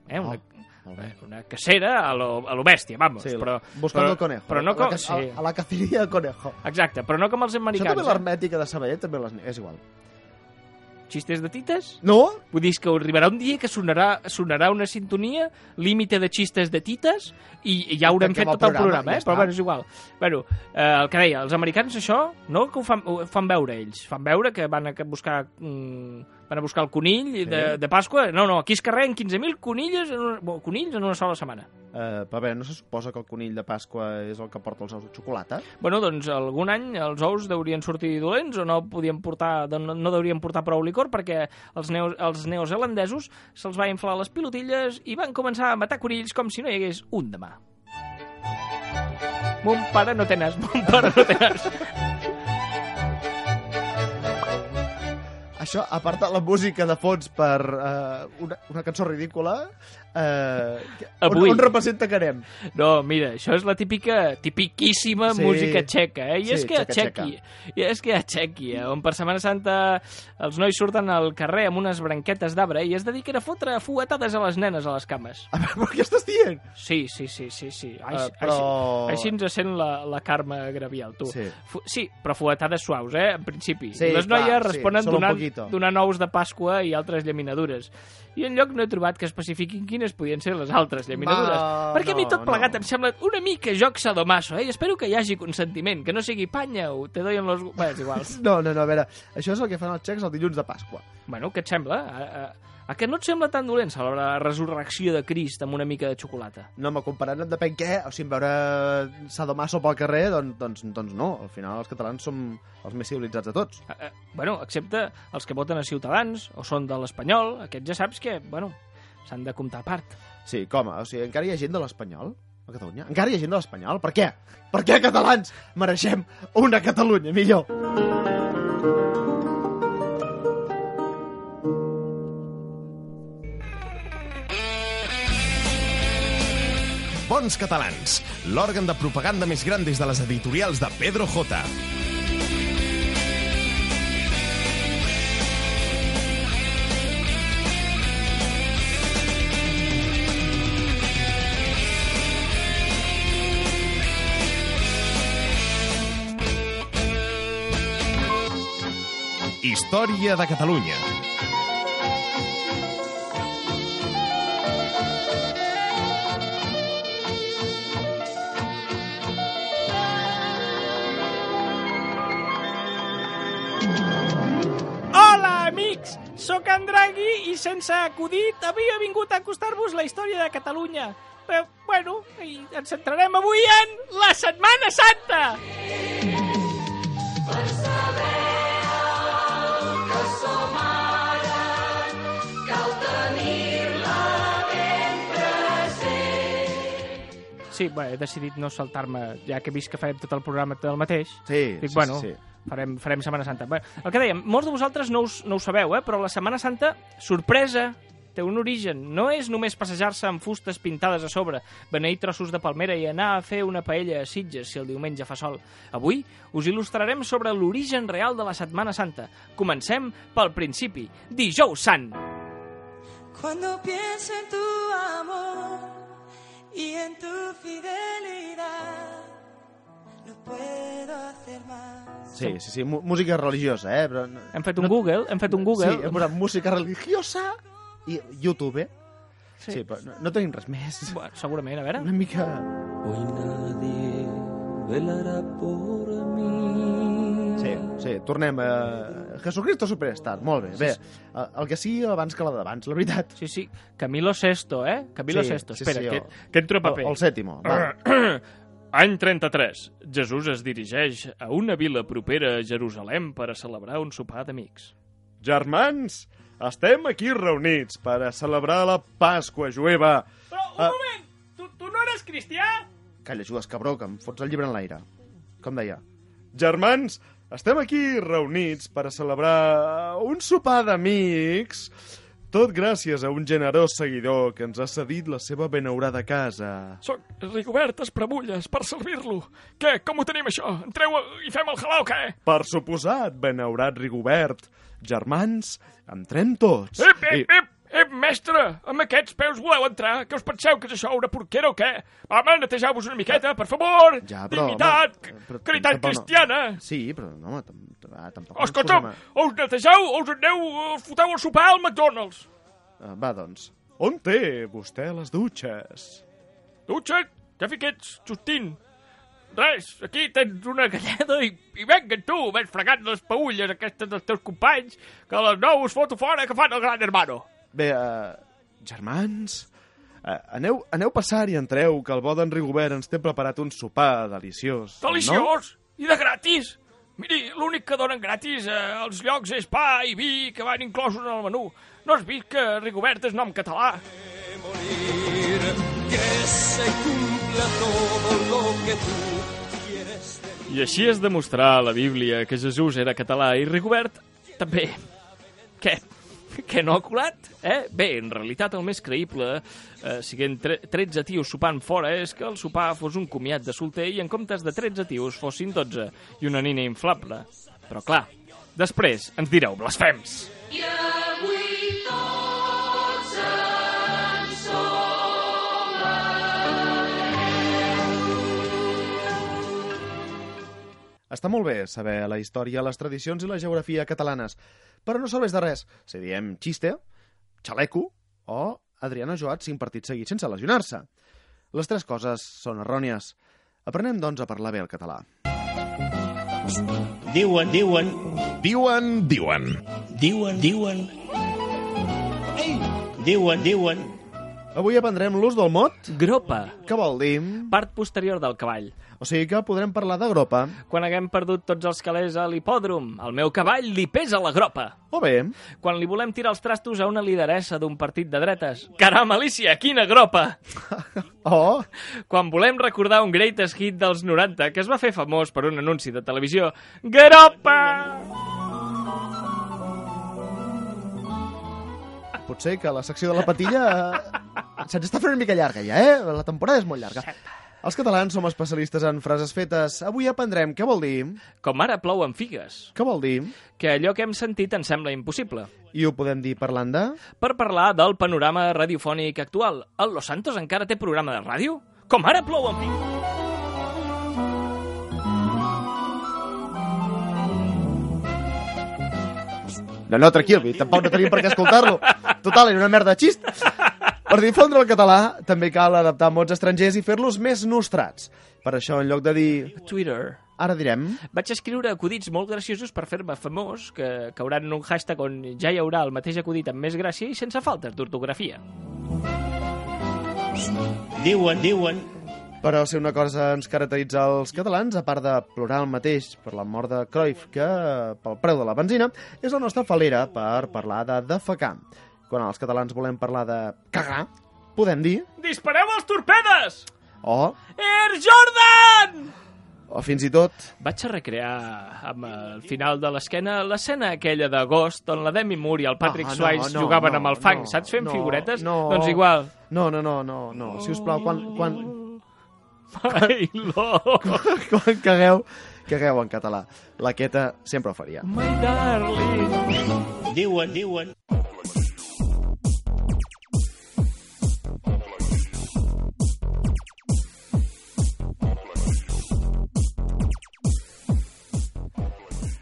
Speaker 4: Eh, una,
Speaker 1: molt bé.
Speaker 4: una cacera a lo, a lo bèstia, vamos.
Speaker 1: Oh. Sí,
Speaker 4: però,
Speaker 1: buscando
Speaker 4: però,
Speaker 1: el conejo.
Speaker 4: Però no
Speaker 1: a, la,
Speaker 4: com...
Speaker 1: ca-
Speaker 4: sí.
Speaker 1: a, a la cacería del conejo.
Speaker 4: Exacte, però no com els
Speaker 1: Això també
Speaker 4: americans.
Speaker 1: l'hermètica de Sabadet també les... és igual.
Speaker 4: Eh? Xistes de tites?
Speaker 1: No?
Speaker 4: Vull dir és que arribarà un dia que sonarà, sonarà una sintonia límite de xistes de tites i, i ja haurem fet
Speaker 1: Tanquem el
Speaker 4: tot el
Speaker 1: programa,
Speaker 4: programa, eh?
Speaker 1: ja
Speaker 4: però
Speaker 1: està.
Speaker 4: bueno, és igual. Bueno, eh, el que deia, els americans això no que ho fan, ho fan veure ells, fan veure que van a buscar, mm, van a buscar el conill de, de Pasqua, no, no, aquí es carreguen 15.000 conilles en una, bo, conills en una sola setmana.
Speaker 1: Uh, però a veure, no se suposa que el conill de Pasqua és el que porta els ous de xocolata?
Speaker 4: Bueno, doncs algun any els ous deurien sortir dolents o no podien portar, no, no deurien portar prou licor perquè els, neo, els neozelandesos se'ls va inflar les pilotilles i van començar a matar conills com si no hi hagués un demà. Mon pare no té nas, mon pare no té nas.
Speaker 1: Això, a part de la música de fons per uh, una, una cançó ridícula, uh,
Speaker 4: Avui.
Speaker 1: on, on representa que anem?
Speaker 4: No, mira, això és la típica, tipiquíssima
Speaker 1: Sí.
Speaker 4: música txeca, eh? I
Speaker 1: Sí,
Speaker 4: és que a
Speaker 1: txeca, txeca.
Speaker 4: Txèquia, i és que a Txèquia, on per Setmana Santa els nois surten al carrer amb unes branquetes d'arbre i es dediquen a fotre fuetades a les nenes a les cames.
Speaker 1: A veure, però què estàs dient?
Speaker 4: Sí, sí, sí, sí, sí.
Speaker 3: Ah,
Speaker 4: Així,
Speaker 1: Eh, però-
Speaker 4: així, així ens sent la, la Carme Gravial, tu.
Speaker 1: Sí.
Speaker 4: Fu sí, però fuetades suaus, eh, en principi.
Speaker 1: Sí,
Speaker 4: Les
Speaker 1: clar,
Speaker 4: noies
Speaker 1: sí,
Speaker 4: responen
Speaker 1: solo un
Speaker 4: donant,
Speaker 1: poquito.
Speaker 4: donant ous de Pasqua i altres llaminadures. I en lloc no he trobat que especifiquin quines podien ser les altres llaminadures.
Speaker 1: Va,
Speaker 4: perquè a mi
Speaker 1: no,
Speaker 4: tot plegat
Speaker 1: no.
Speaker 4: em sembla una mica joc sadomaso, eh? I espero que hi hagi consentiment, que no sigui panya o te doy en los... Bé, és igual.
Speaker 1: No, no, no, a veure, això és el que fan els xecs el dilluns de Pasqua.
Speaker 4: bueno, què et sembla? A, a, a que no et sembla tan dolent celebrar la resurrecció de Crist amb una mica de xocolata?
Speaker 1: No, home, comparant amb depèn què, o sigui, en veure Sadomaso pel carrer, doncs, doncs, doncs no, al final els catalans som els més civilitzats de tots.
Speaker 4: Eh, eh, bueno, excepte els que voten a Ciutadans o són de l'Espanyol, aquests ja saps que, bueno, s'han de comptar a part.
Speaker 1: Sí, com? O sigui, encara hi ha gent de l'Espanyol? A Catalunya? Encara hi ha gent de l'Espanyol? Per què? Per què, catalans, mereixem una Catalunya millor?
Speaker 5: Bons catalans, l'òrgan de propaganda més gran des de les editorials de Pedro J. Història de Catalunya.
Speaker 4: Can Draghi i sense acudit havia vingut a acostar-vos la història de Catalunya. Però, bueno, i ens centrarem avui en la Setmana Santa! Sí, bé, he decidit no saltar-me, ja que he vist que farem tot el programa del mateix.
Speaker 1: Sí,
Speaker 4: Dic,
Speaker 1: sí,
Speaker 4: bueno,
Speaker 1: sí, sí.
Speaker 4: Farem, farem Setmana Santa. Bé, el que dèiem, molts de vosaltres no, us, no ho sabeu, eh? però la Setmana Santa, sorpresa, té un origen. No és només passejar-se amb fustes pintades a sobre, beneir trossos de palmera i anar a fer una paella a Sitges si el diumenge fa sol. Avui us il·lustrarem sobre l'origen real de la Setmana Santa. Comencem pel principi. Dijous Sant!
Speaker 7: Cuando pienso en tu amor y en tu fidelidad, no puedo hacer más.
Speaker 1: Sí, sí, sí, mu- música religiosa, eh? Però... no-
Speaker 4: Hem fet un Google, hem fet un Google.
Speaker 1: Sí, hem posat música religiosa i YouTube, eh?
Speaker 4: Sí.
Speaker 1: Sí, però no, no tenim res més.
Speaker 4: Bueno, segurament, a veure.
Speaker 1: Una mica...
Speaker 3: Hoy nadie velará por mí.
Speaker 1: Sí, sí, tornem a... Jesucristo Superstar, molt bé. Bé, el- el que sigui abans que la d'abans, la veritat.
Speaker 4: Sí, sí, Camilo Sesto, eh? Camilo
Speaker 1: Sí,
Speaker 4: Sesto.
Speaker 1: sí,
Speaker 4: Espera,
Speaker 1: sí,
Speaker 4: que,
Speaker 1: o-
Speaker 4: que entro a
Speaker 1: O,
Speaker 4: paper.
Speaker 1: el sètimo. Va.
Speaker 3: Any 33. Jesús es dirigeix a una vila propera a Jerusalem per a celebrar un sopar d'amics.
Speaker 5: Germans, estem aquí reunits per a celebrar la Pasqua jueva.
Speaker 4: Però, un
Speaker 1: Ah.
Speaker 4: moment! Tu, tu no eres cristià?
Speaker 1: Calla, Judes, cabró, que em fots el llibre en l'aire. Com deia.
Speaker 5: Germans, estem aquí reunits per a celebrar un sopar d'amics, tot gràcies a un generós seguidor que ens ha cedit la seva benaurada casa.
Speaker 8: Soc Rigobert Espremulles, per servir-lo. Què, com ho tenim, això? Entreu i fem el halau, què?
Speaker 5: Per suposat, benaurat Rigobert. Germans, entrem tots.
Speaker 8: Ep, ep, ep, ep, mestre! Amb aquests peus voleu entrar? Què us penseu, que és això, una porquera o què? Home, netegeu-vos una miqueta, per favor!
Speaker 1: Ja, però,
Speaker 8: Dignitat,
Speaker 1: home, però
Speaker 8: caritat
Speaker 1: tampoc no.
Speaker 8: cristiana!
Speaker 4: Ah.
Speaker 1: Sí, però no, home, tam- ah, tampoc... ens
Speaker 8: Escolta'm,
Speaker 1: posem
Speaker 8: o us netegeu o us aneu, eh, foteu el sopar al McDonald's.
Speaker 1: a- Ah, Va, doncs.
Speaker 5: Eh, On té vostè les dutxes?
Speaker 8: Dutxa't, ja fi ets, Justín. Res, aquí tens una galleda i, i venga tu, m'has fregat les paulles aquestes dels teus companys, que a les 9 us foto fora que fan el gran hermano.
Speaker 1: Bé, uh,
Speaker 5: eh, Germans, eh, aneu, aneu passar i entreu, que el bo d'en Rigobert ens té preparat un sopar deliciós.
Speaker 8: Deliciós! No? I de gratis! Miri, l'únic que donen gratis eh, als llocs és pa i vi que van inclosos en el menú. No has vist que Rigobert és nom català?
Speaker 3: I així es demostrà a la Bíblia que Jesús era català i Rigobert també. Què? Que no ha colat? Eh? Bé, en realitat el més creïble, eh, siguent tre 13 tios sopant fora, és que el sopar fos un comiat de solter i en comptes de 13 tios fossin 12 i una nina inflable. Però clar, després ens direu blasfems.
Speaker 1: està molt bé saber la història, les tradicions i la geografia catalanes, però no serveix de res si diem xiste, xaleco o Adriana Joat cinc partits seguits sense lesionar-se. Les tres coses són errònies. Aprenem, doncs, a parlar bé el català.
Speaker 9: Diuen, diuen,
Speaker 5: Diuen, diuen.
Speaker 9: diuen, diuen. Diuen, diuen.
Speaker 1: Avui aprendrem l'ús del mot,
Speaker 3: Gropa,
Speaker 1: que vol dir...
Speaker 3: part posterior del cavall.
Speaker 1: O sigui que podrem parlar de gropa,
Speaker 3: Quan haguem perdut tots els calés a l'hipòdrom, el meu cavall li pesa la gropa.
Speaker 1: o Oh, bé,
Speaker 3: quan li volem tirar els trastos a una lideressa d'un partit de dretes. Caram, Alicia, quina gropa!
Speaker 1: o
Speaker 3: Quan volem recordar un greatest hit dels 90 que es va fer famós per un anunci de televisió. Gropa!
Speaker 1: potser que la secció de la patilla eh, se'ns està fent una mica llarga ja, eh? La temporada és molt llarga. Els catalans som especialistes en frases fetes. Avui aprendrem què vol dir,
Speaker 3: Com ara plouen figues,
Speaker 1: què vol dir,
Speaker 3: que allò que hem sentit ens sembla impossible.
Speaker 1: i ho podem dir parlant de...
Speaker 3: Per parlar del panorama radiofònic actual, el Los Santos encara té programa de ràdio? Com ara plouen figues?
Speaker 1: No, no, tranquil, tampoc Oh, no tenim per què escoltar-lo. Total, era una merda de xist. Per difondre el català, també cal adaptar mots estrangers i fer-los més nostrats. Per això, en lloc de dir
Speaker 3: Twitter,
Speaker 1: Ara direm...
Speaker 4: Vaig escriure acudits molt graciosos per fer-me famós, que cauran en un hashtag on ja hi haurà el mateix acudit amb més gràcia i sense faltes d'ortografia.
Speaker 10: diuen, diuen,
Speaker 1: Però si una cosa ens caracteritza els catalans, a part de plorar el mateix per la mort de Cruyff que eh, pel preu de la benzina, és la nostra falera per parlar de defecar. Quan els catalans volem parlar de cagar, podem dir
Speaker 11: Dispareu els torpedes!
Speaker 1: o,
Speaker 4: Air Jordan!
Speaker 1: o fins i tot
Speaker 4: Vaig a recrear amb el final de l'esquena l'escena aquella d'agost on la Demi Moore i el Patrick
Speaker 1: Ah, No,
Speaker 4: no,
Speaker 1: no,
Speaker 4: Swice
Speaker 1: no,
Speaker 4: jugaven
Speaker 1: no,
Speaker 4: amb el fang,
Speaker 1: no,
Speaker 4: saps? Fent
Speaker 1: no,
Speaker 4: figuretes?
Speaker 1: no.
Speaker 4: Doncs igual.
Speaker 1: No, no, no, no, no. Si us plau, quan, quan,
Speaker 4: Ai, lo...
Speaker 1: quan cagueu, cagueu en català. La Queta sempre ho faria.
Speaker 4: My darling.
Speaker 10: diuen, diuen.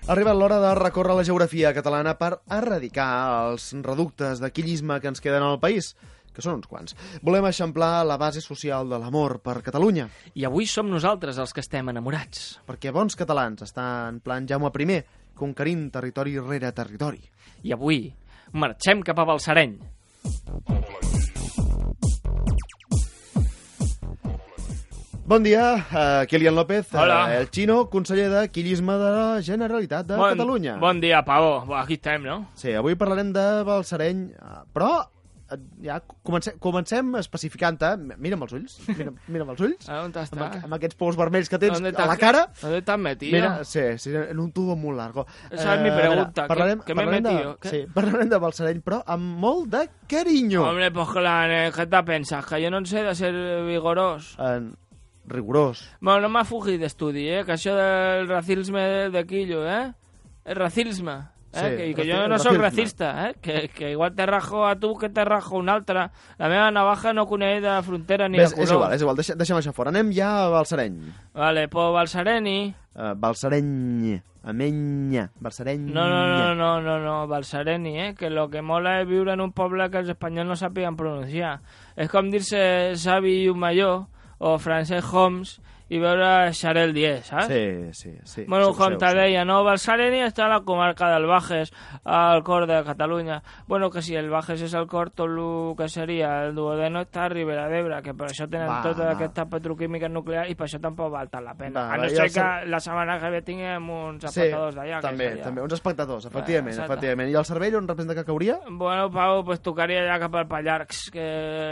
Speaker 1: Ha arribat l'hora de recórrer la geografia catalana per erradicar els reductes de quillisme que ens queden al país, que són uns quants. Volem eixamplar la base social de l'amor per Catalunya,
Speaker 4: I avui som nosaltres els que estem enamorats.
Speaker 1: perquè bons catalans estan en plan Jaume I, conquerint territori rere territori.
Speaker 4: I avui marxem cap a Balsareny.
Speaker 1: Bon dia, uh, Kilian López, eh,
Speaker 4: Hola.
Speaker 1: el xino, conseller de quillisme de la Generalitat de Catalunya.
Speaker 4: Bon dia, Pau. Bo, aquí estem, no?
Speaker 1: Sí, avui parlarem de Balsareny, eh, però eh, ja comencem, comencem especificant-te. Mira'm els ulls, mira'm, mira'm els ulls.
Speaker 4: Ah, on
Speaker 1: amb,
Speaker 4: està?
Speaker 1: aqu- amb aquests pous vermells que tens
Speaker 4: ¿Dónde
Speaker 1: a la cara.
Speaker 4: ¿Dónde estás metido?
Speaker 1: Mira, sí, sí, en un tubo molt largo.
Speaker 4: Esa es mi
Speaker 1: a veure,
Speaker 4: pregunta, ¿qué- qué me he
Speaker 1: parlarem
Speaker 4: metido?
Speaker 1: De,
Speaker 4: ¿Qué?
Speaker 1: sí, parlarem de Balsareny, però amb molt de carinyo.
Speaker 4: Hombre, pues claro, eh, ¿qué te pensas? Que yo no sé de ser eh, vigorós.
Speaker 1: En rigorós.
Speaker 4: Bueno, no m'ha fugit d'estudi, eh? Que això del racisme de Quillo, eh? El racisme. Eh?
Speaker 1: Sí,
Speaker 4: que, que
Speaker 1: raci-
Speaker 4: jo no sóc
Speaker 1: racisme.
Speaker 4: racista, eh? Que, que igual te rajo a tu que te rajo a un altre. La meva navaja no coneix de frontera ni
Speaker 1: Ves,
Speaker 4: de
Speaker 1: és
Speaker 4: color.
Speaker 1: igual, és igual, deixem, deixem això fora. Anem ja a Balsareny.
Speaker 4: Vale, pues Balsareni...
Speaker 1: Uh, Balsareny, Amenya, Balsareny...
Speaker 4: No, no,
Speaker 1: Mm,
Speaker 4: no, no, no, no, Balsareni, eh? Que lo que mola és viure en un poble que els espanyols no sàpiguen pronunciar. És com dir-se Xavi i un major o Francesc Homs i veure Xarel Diez, saps?
Speaker 1: Sí, sí, sí.
Speaker 4: Ah? Bueno,
Speaker 1: sí, ho sé,
Speaker 4: com
Speaker 1: ho
Speaker 4: te
Speaker 1: sé.
Speaker 4: deia, no? Balsareni està a la comarca del Bages, al cor de Catalunya. Bueno, que si el Bages és el cor, tot el que seria el duodeno està a Ribera d'Ebre, que per això tenen
Speaker 1: Va,
Speaker 4: va, totes
Speaker 1: va.
Speaker 4: aquestes petroquímiques nuclears i per això tampoc val tant la pena.
Speaker 1: Va,
Speaker 8: Ah,
Speaker 4: a
Speaker 1: va,
Speaker 4: no
Speaker 1: ja
Speaker 4: ser
Speaker 1: ho
Speaker 4: que
Speaker 1: sab-
Speaker 4: la setmana que ve tinguem uns
Speaker 1: Sí,
Speaker 4: apartadors d'allà. que
Speaker 1: també,
Speaker 4: seria-
Speaker 1: també, uns espectadors, efectivament,
Speaker 4: exacte.
Speaker 1: efectivament. I el cervell on representa que cauria?
Speaker 4: Bueno, Pau, pues tocaria ja cap al Pallars, que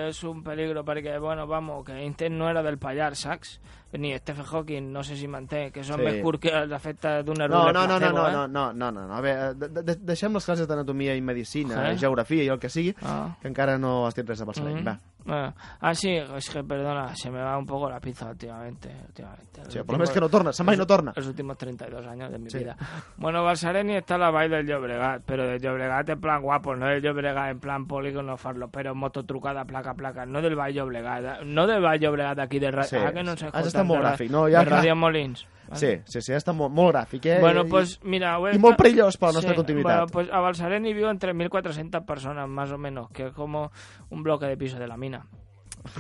Speaker 4: és un peligro, perquè, bueno, vamos, que Einstein no era del Pallars, saps? Ni Stephen Hawking, no sé si manté, que són
Speaker 1: Sí.
Speaker 4: sí. més curts que els efectes d'una
Speaker 1: No, no,
Speaker 4: rula
Speaker 1: no, no,
Speaker 4: placebo,
Speaker 1: no,
Speaker 4: eh?
Speaker 1: no, no, no, no, no. A veure, de, de, de- deixem les classes d'anatomia i medicina,
Speaker 4: Ojalà.
Speaker 1: eh? geografia i el que sigui,
Speaker 4: Ah.
Speaker 1: que encara no has dit res de Balsareny.
Speaker 4: Mm.
Speaker 1: Va.
Speaker 4: Bueno, ah, sí, es que perdona, se me va un poco la pizza últimamente. últimamente.
Speaker 1: Sí, el
Speaker 4: Los
Speaker 1: problema és
Speaker 4: últimos-
Speaker 1: que no torna, se'n va i no torna.
Speaker 4: Los últimos 32 años de mi
Speaker 1: Sí.
Speaker 4: vida. Bueno, Balsareni está la vall del Llobregat, pero del Llobregat en plan guapo, no del Llobregat en plan polígono farlo, pero moto trucada, placa, placa, no del Vall Llobregat, no del Vall Llobregat de aquí de Radio.
Speaker 1: Sí,
Speaker 4: ah, que no
Speaker 1: sí.
Speaker 4: sé,
Speaker 1: Has
Speaker 4: joder,
Speaker 1: estat molt
Speaker 4: de ra-
Speaker 1: gràfic, no? Ja,
Speaker 4: de
Speaker 1: clar.
Speaker 4: Radio Molins. ¿vale?
Speaker 1: Sí, sí, sí, està molt, molt gràfic, eh?
Speaker 4: Bueno,
Speaker 1: I-
Speaker 4: pues mira... ho he
Speaker 1: i molt
Speaker 4: esta-
Speaker 1: perillós per la nostra continuïtat.
Speaker 4: Bueno, pues a Balsareni viven 3.400 personas, más o menos, que es como un bloque de piso de la mina.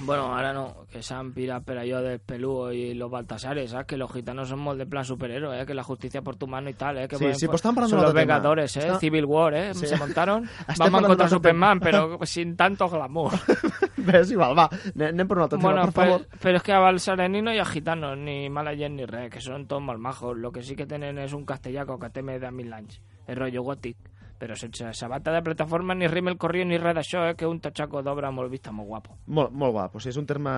Speaker 4: Bueno, ahora no, que se han pirado pero yo del Pelú y los Baltasares, ¿sabes? Que los gitanos somos de plan superhéroes, ¿eh? Que la justicia por tu mano y tal, ¿eh? Que
Speaker 1: Sí,
Speaker 4: pueden-
Speaker 1: sí, pues están parando
Speaker 4: Son los
Speaker 1: otro tema.
Speaker 4: Vengadores, ¿eh?
Speaker 1: Está-
Speaker 4: Civil War, ¿eh?
Speaker 1: Sí.
Speaker 4: Se montaron.
Speaker 1: Está
Speaker 4: Vamos
Speaker 1: parando
Speaker 4: contra
Speaker 1: otro tema.
Speaker 4: Superman, pero sin tanto glamour.
Speaker 1: Ves, igual, va, anem anem per un altre tema,
Speaker 4: Bueno,
Speaker 1: per
Speaker 4: pues-
Speaker 1: favor.
Speaker 4: pero es que a Balsareni no hay a gitanos, ni malayes, ni re, que son todos malmajos. Lo que sí que tienen es un castellaco que teme de mil anys. El rollo gòtic. Però sense sabata de plataforma, ni rímel corrió, ni res d'això, eh, que un tochaco d'obra molt vista, molt guapo.
Speaker 1: Molt, molt guapo, sí, és un terme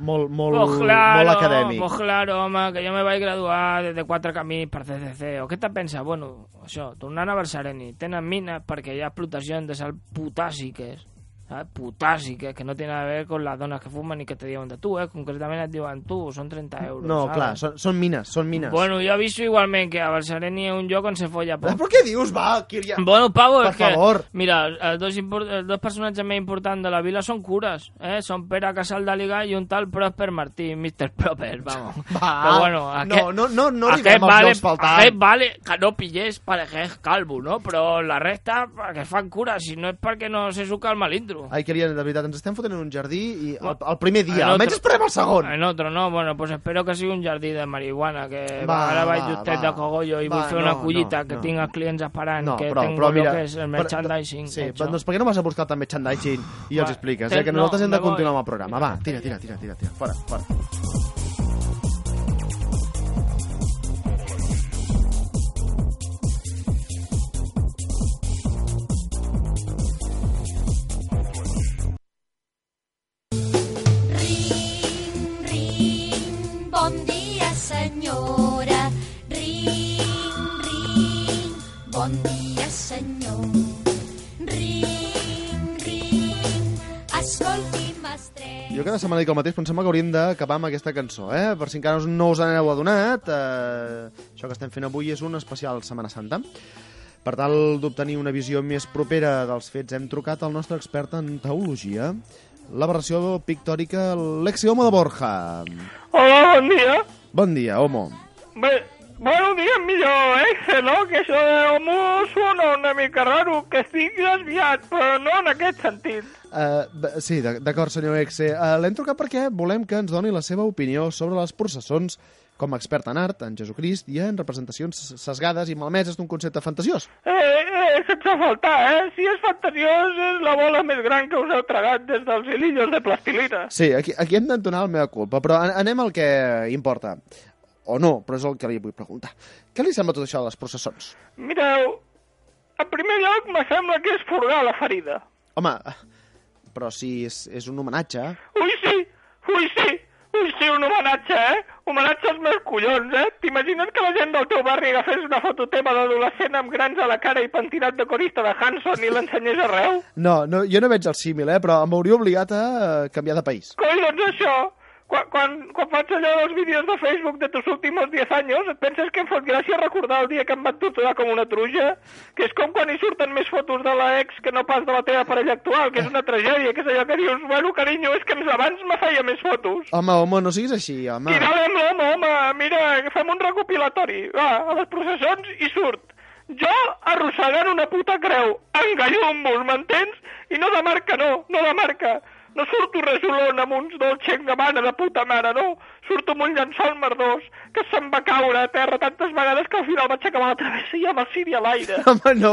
Speaker 1: molt, molt,
Speaker 4: Pues Oh, claro,
Speaker 1: molt acadèmic.
Speaker 4: Pues claro, home, que jo me vaig graduar des de quatre camins per CCC. O què te pensa? Bueno, això, tornant a Balsareni, tenen mines perquè hi ha explotacions de sal potàssiques, ¿sabes? potàssiques, que no tenen a veure con les dones que fumen i que te diuen de tu, eh? Concretament et diuen tu, són 30 euros,
Speaker 1: no,
Speaker 4: ¿sabes?
Speaker 1: clar, són, són mines, són mines.
Speaker 4: Bueno, jo aviso igualment que a Balsareni és un lloc on se folla
Speaker 1: Ah,
Speaker 4: poc.
Speaker 1: Però què dius, va, Kilian?
Speaker 4: Bueno, Pavo,
Speaker 1: Per
Speaker 4: és que...
Speaker 1: favor.
Speaker 4: Mira, els dos, impor- els dos personatges més importants de la vila són cures, eh? Són Pere Casal d'Àliga i un tal Prosper Martí, Mr. Proper, vamos.
Speaker 1: Va,
Speaker 4: Però bueno,
Speaker 1: no,
Speaker 4: aquest,
Speaker 1: no- no- no li
Speaker 4: aquest
Speaker 1: veiem els
Speaker 4: vale,
Speaker 1: llocs faltant.
Speaker 4: Aquest vale que no pillés perquè és calvo, no? Però la resta, perquè fan cures, si no és perquè no se suca el malindro, xulo.
Speaker 1: Ai, Kilian, de veritat, ens estem fotent en un jardí i el,
Speaker 4: No.
Speaker 1: el primer dia,
Speaker 4: En
Speaker 1: almenys
Speaker 4: otro.
Speaker 1: esperem el segon.
Speaker 4: En otro no, bueno, pues espero que sigui un jardí de marihuana, que
Speaker 1: Va,
Speaker 4: va, ara vaig
Speaker 1: va,
Speaker 4: d'usted
Speaker 1: va.
Speaker 4: de cogollo i
Speaker 1: Va,
Speaker 4: vull fer una
Speaker 1: no,
Speaker 4: collita,
Speaker 1: no,
Speaker 4: que
Speaker 1: no.
Speaker 4: tinc els clients esperant,
Speaker 1: No,
Speaker 4: que
Speaker 1: però,
Speaker 4: tinc
Speaker 1: però
Speaker 4: lo
Speaker 1: mira...
Speaker 4: que eh. és el
Speaker 1: però-
Speaker 4: merchandising.
Speaker 1: Sí,
Speaker 4: hecho.
Speaker 1: però, doncs per què no vas a buscar també merchandising i
Speaker 4: Va,
Speaker 1: els expliques,
Speaker 4: te-
Speaker 1: eh? Que
Speaker 4: no,
Speaker 1: nosaltres hem
Speaker 4: me
Speaker 1: de
Speaker 4: voy.
Speaker 1: continuar amb el programa. Va, tira, tira, tira, tira, tira. Fora, fora.
Speaker 7: Rin, rin, bon dia, senyora. Rin, rin, bon dia, senyor. Rin, rin, escolti, mestre.
Speaker 1: Jo cada setmana dic el mateix, però em sembla que hauríem d'acabar amb aquesta cançó, eh? Per si encara no us n'heu adonat, eh, això que estem fent avui és un especial Setmana Santa. Per tal d'obtenir una visió més propera dels fets, hem trucat al nostre expert en teologia, la versió pictòrica Lexioma de Borja.
Speaker 11: Hola, bon dia.
Speaker 1: Bon dia, homo.
Speaker 11: Bé, bueno, digue'm millor, eh? Hello, que això de homo sona una mica raro, que estic desviat, però no en aquest sentit.
Speaker 1: Uh, sí, d'ac- d'acord, senyor Exe. Uh, L'hem trucat perquè volem que ens doni la seva opinió sobre les processons com a expert en art, en Jesucrist, i en representacions sesgades i malmeses d'un concepte fantasiós.
Speaker 11: Eh, eh, sense faltar, eh? Si és fantasiós, és la bola més gran que us heu tragat des dels hilillos de plastilina.
Speaker 1: Sí, aquí, aquí hem d'entonar la meva culpa, però an- anem al que importa. O no, però és el que li vull preguntar. Què li sembla tot això de les processons?
Speaker 11: Mireu, en primer lloc, me sembla que és furgar la ferida.
Speaker 1: Home, però si és, és un homenatge...
Speaker 11: Ui, sí, ui, sí, ui, sí, un homenatge, eh? Homenatge als meus collons, eh? T'imagines que la gent del teu barri agafés una foto teva d'adolescent amb grans a la cara i pentinat de corista de Hanson i l'ensenyés arreu?
Speaker 1: No, no, jo no veig el símil, eh, però m'hauria obligat a eh, canviar de país.
Speaker 11: Coi, doncs això, quan, quan, quan faig allò dels vídeos de Facebook de tus últimos 10 anys, et penses que em fot gràcia recordar el dia que em van torturar com una truja? Que és com quan hi surten més fotos de la ex que no pas de la teva parella actual, que és una tragèdia, que és allò que dius, bueno, carinyo, és que ens- abans me feia més fotos.
Speaker 1: Home, home, no siguis així, home.
Speaker 11: I dale, home, home, home, mira, fem un recopilatori. Va, a les processons i surt. Jo arrossegant una puta creu, engallum-vos, m'entens? I no de marca, no, no de marca. No surto resolon amb uns dolce gabbana de puta mare, no. Surto amb un llençol merdós que se'm va caure a terra tantes vegades que al final vaig acabar la travessa i amb el ciri a l'aire.
Speaker 1: Home, no,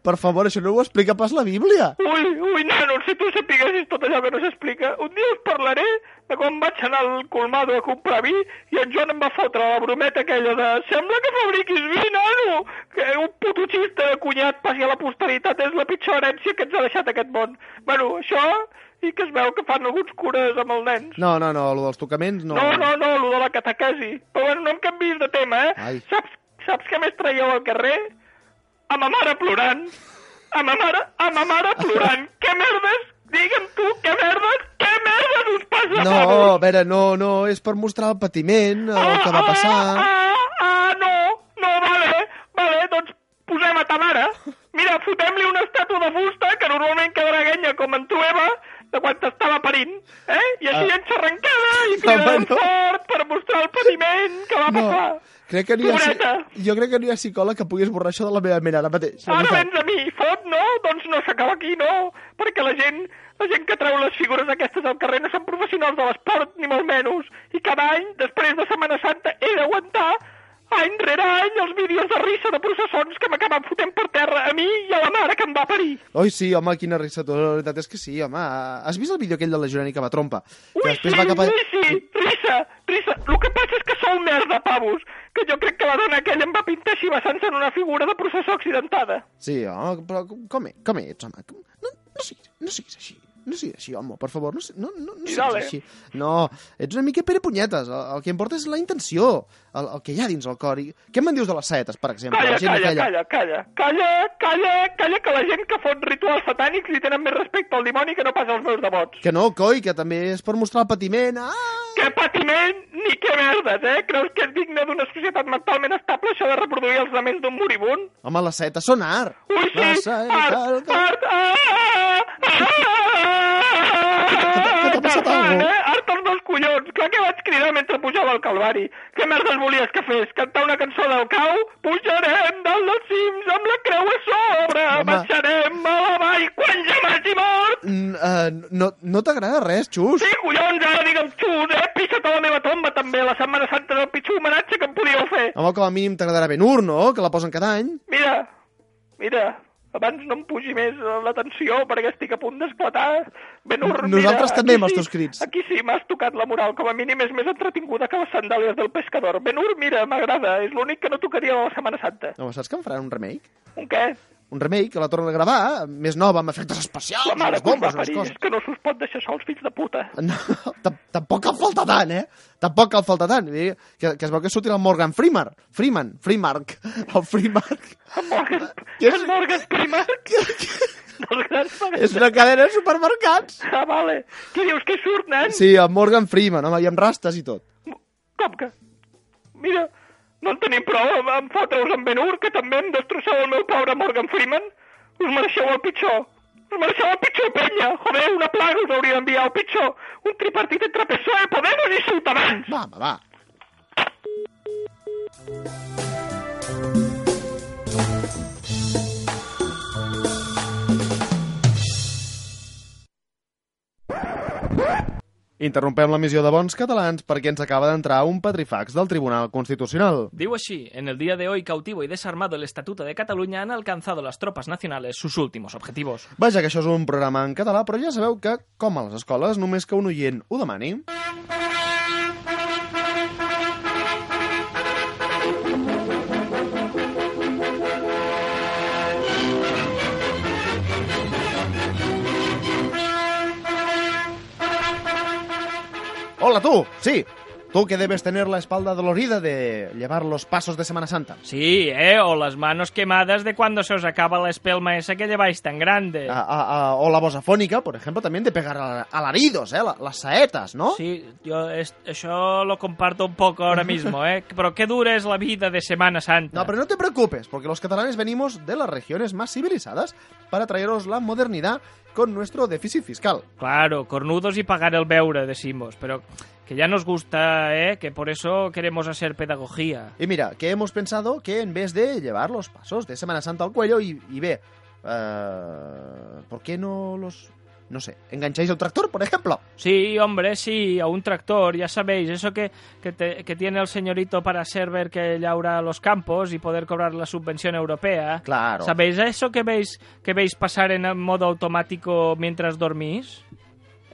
Speaker 1: per favor, això no ho explica pas la Bíblia.
Speaker 11: Ui, ui, nano, si tu sapiguessis tot allò que no s'explica. Un dia us parlaré de quan vaig anar al colmado a comprar vi i en Joan em va fotre la brometa aquella de «Sembla que fabriquis vi, nano! Que un puto xista de cunyat passi a la posteritat és la pitjor herència que ens ha deixat aquest món». Bueno, això i que es veu que fan alguns cures amb els nens.
Speaker 1: No, no, no, lo dels tocaments no.
Speaker 11: No, no, no, lo de la catequesi. Però bueno, no em canviïs de tema, eh?
Speaker 1: Ai.
Speaker 11: Saps, saps què més traieu al carrer? A ma mare plorant. A ma mare, a ma mare plorant. què merdes? Digue'm tu, què merdes? Què merdes us passa,
Speaker 1: No, a
Speaker 11: pares?
Speaker 1: veure, no, no, és per mostrar el patiment, el que va
Speaker 11: Ah,
Speaker 1: passar...
Speaker 11: ah, ah, no, no, vale, vale, doncs posem a ta mare. Mira, fotem-li una estàtua de fusta que normalment quedarà guenya com en tu, Eva, de quan t'estava parint, eh? I així ah. enxarrancada i cridarem
Speaker 1: Home, no.
Speaker 11: fort per mostrar el patiment que va
Speaker 1: No,
Speaker 11: passar.
Speaker 1: crec que no hi ha...
Speaker 11: Pobreta.
Speaker 1: psi- Jo crec que no hi ha psicòleg que pugui esborrar això de la meva ment ara mateix.
Speaker 11: Ara vens a mi, fot, no? Doncs no s'acaba aquí, no, perquè la gent, la gent que treu les figures aquestes al carrer no són professionals de l'esport, ni molt menys, i cada any, després de Setmana Santa, he d'aguantar any rere any els vídeos de rissa de processons que m'acaben fotent per terra a mi i a la mare que em va parir.
Speaker 1: Oi, sí, home, quina risa, tu. La veritat és que sí, home. Has vist el vídeo aquell de la Jorani que va trompa?
Speaker 11: Ui,
Speaker 1: que
Speaker 11: sí, ui, sí, rissa, rissa. El que passa és que sou merda, pavos, que jo crec que la dona aquella em va pintar així basant-se en una figura de processó accidentada.
Speaker 1: Sí, home, però com, com, e- com ets, home? Com- No, no, siguis, no siguis així. No siguis així, home, per favor, no, si- no, no, no siguis
Speaker 11: dale.
Speaker 1: així. No, ets una mica Pere Punyetes. El, el que importa és la intenció, el, el que hi ha dins el cor. I... Què me'n dius de les saetes, per exemple?
Speaker 11: Calla,
Speaker 1: la gent
Speaker 11: calla,
Speaker 1: aquella?
Speaker 11: calla, calla, calla, calla, calla, que la gent que fot rituals satànics li tenen més respecte al dimoni que no pas als meus devots.
Speaker 1: Que no, coi, que també és per mostrar el patiment. Ah!
Speaker 11: Que patiment ni que merdes, eh? Creus que és digne d'una societat mentalment estable això de reproduir els laments d'un moribund?
Speaker 1: Home, les saetes són art.
Speaker 11: Ui,
Speaker 1: Les
Speaker 11: sí,
Speaker 1: saetes...
Speaker 11: art, art, ah, ah,
Speaker 1: t'ha passat
Speaker 11: Tarzan,
Speaker 1: algo?
Speaker 11: eh? Art als meus collons. Clar que vaig cridar mentre pujava al Calvari. Què merdes volies que fes? Cantar una cançó del cau? Pujarem dalt dels cims amb la creu a sobre.
Speaker 1: Home.
Speaker 11: Baixarem a la vall quan ja m'hagi mort.
Speaker 1: Mm, eh, no, no t'agrada res, Xus?
Speaker 11: Sí, collons, ara digue'm tu, eh? Pissa't a la meva tomba, també, la Setmana Santa del pitjor homenatge que em podíeu fer.
Speaker 1: Home, com a mínim t'agradarà ben ur, no? Que la posen cada any.
Speaker 11: Mira, mira, abans no em pugi més eh, la tensió perquè estic a punt d'esclatar. Ben ur,
Speaker 1: Nosaltres
Speaker 11: mira,
Speaker 1: també
Speaker 11: aquí
Speaker 1: amb els
Speaker 11: sí-
Speaker 1: teus crits.
Speaker 11: Aquí sí, m'has tocat la moral. Com a mínim és més entretinguda que les sandàlies del pescador. Ben ur, mira, m'agrada. És l'únic que no tocaria a la Setmana Santa.
Speaker 1: Home, saps que en faran un remake?
Speaker 11: Un què?
Speaker 1: Un remake que la tornen a gravar, més nova, amb efectes especials,
Speaker 11: La mare
Speaker 1: unes
Speaker 11: que us va
Speaker 1: bombes, unes
Speaker 11: parir.
Speaker 1: coses.
Speaker 11: És que no s'us pot deixar sols, fills de puta.
Speaker 1: No, tam- tampoc cal falta tant, eh? Tampoc cal falta tant. Vull dir, Que, que es veu que surt el Morgan Freeman. Freeman, Freemark. El Freemark.
Speaker 11: Morgan,
Speaker 1: Què és-
Speaker 11: en Morgan Primark. Dels grans
Speaker 1: És
Speaker 11: pares.
Speaker 1: una cadena de supermercats.
Speaker 11: Ah, vale. Què dius, que surt, nen?
Speaker 1: Sí, el Morgan Freeman, home, i amb rastes i tot.
Speaker 11: Com que? Mira, no en tenim prou amb, amb fotre-us amb Ben Hur, que també em destrosseu el meu pobre Morgan Freeman. Us mereixeu el pitjor. Us mereixeu el pitjor, penya. Joder, una plaga us hauria d'enviar el pitjor. Un tripartit entre PSOE, Podemos i Ciutadans.
Speaker 1: Va, home, va. Interrompem l'emissió de Bons Catalans perquè ens acaba d'entrar un petrifax del Tribunal Constitucional.
Speaker 4: Digo así, en el día de hoy cautivo y desarmado el Estatuto de Cataluña han alcanzado las tropas nacionales sus últimos objetivos.
Speaker 1: Vaja, que això és un programa en català, però ja sabeu que, com a les escoles, només que un oient ho demani... Hola, tú! Sí, tú que debes tener la espalda dolorida de llevar los pasos de Semana Santa.
Speaker 4: Sí, eh, o las manos quemadas de cuando se os acaba la espelma esa que lleváis tan grande.
Speaker 1: A- a- a- o la voz afónica, por ejemplo, también de pegar a- alaridos, ¿eh? La- las saetas, ¿no?
Speaker 4: Sí, yo es- eso lo comparto un poco ahora mismo, ¿eh? Pero qué dura es la vida de Semana Santa.
Speaker 1: No, pero no te preocupes, porque los catalanes venimos de las regiones más civilizadas para traeros la modernidad con nuestro déficit fiscal.
Speaker 4: Claro, cornudos y pagar el beure, decimos. Pero que ya nos gusta, ¿eh? Que por eso queremos hacer pedagogía.
Speaker 1: Y mira, que hemos pensado que en vez de llevar los pasos de Semana Santa al cuello y, y ve... eh, ¿Por qué no los... No sé, engancháis el tractor, por ejemplo?
Speaker 4: Sí, hombre, sí, a un tractor, ya sabéis, eso que, que, te- que tiene el señorito para hacer ver que llaura los campos y poder cobrar la subvención europea.
Speaker 1: Claro.
Speaker 4: ¿Sabéis eso que veis, que veis pasar en modo automático mientras dormís?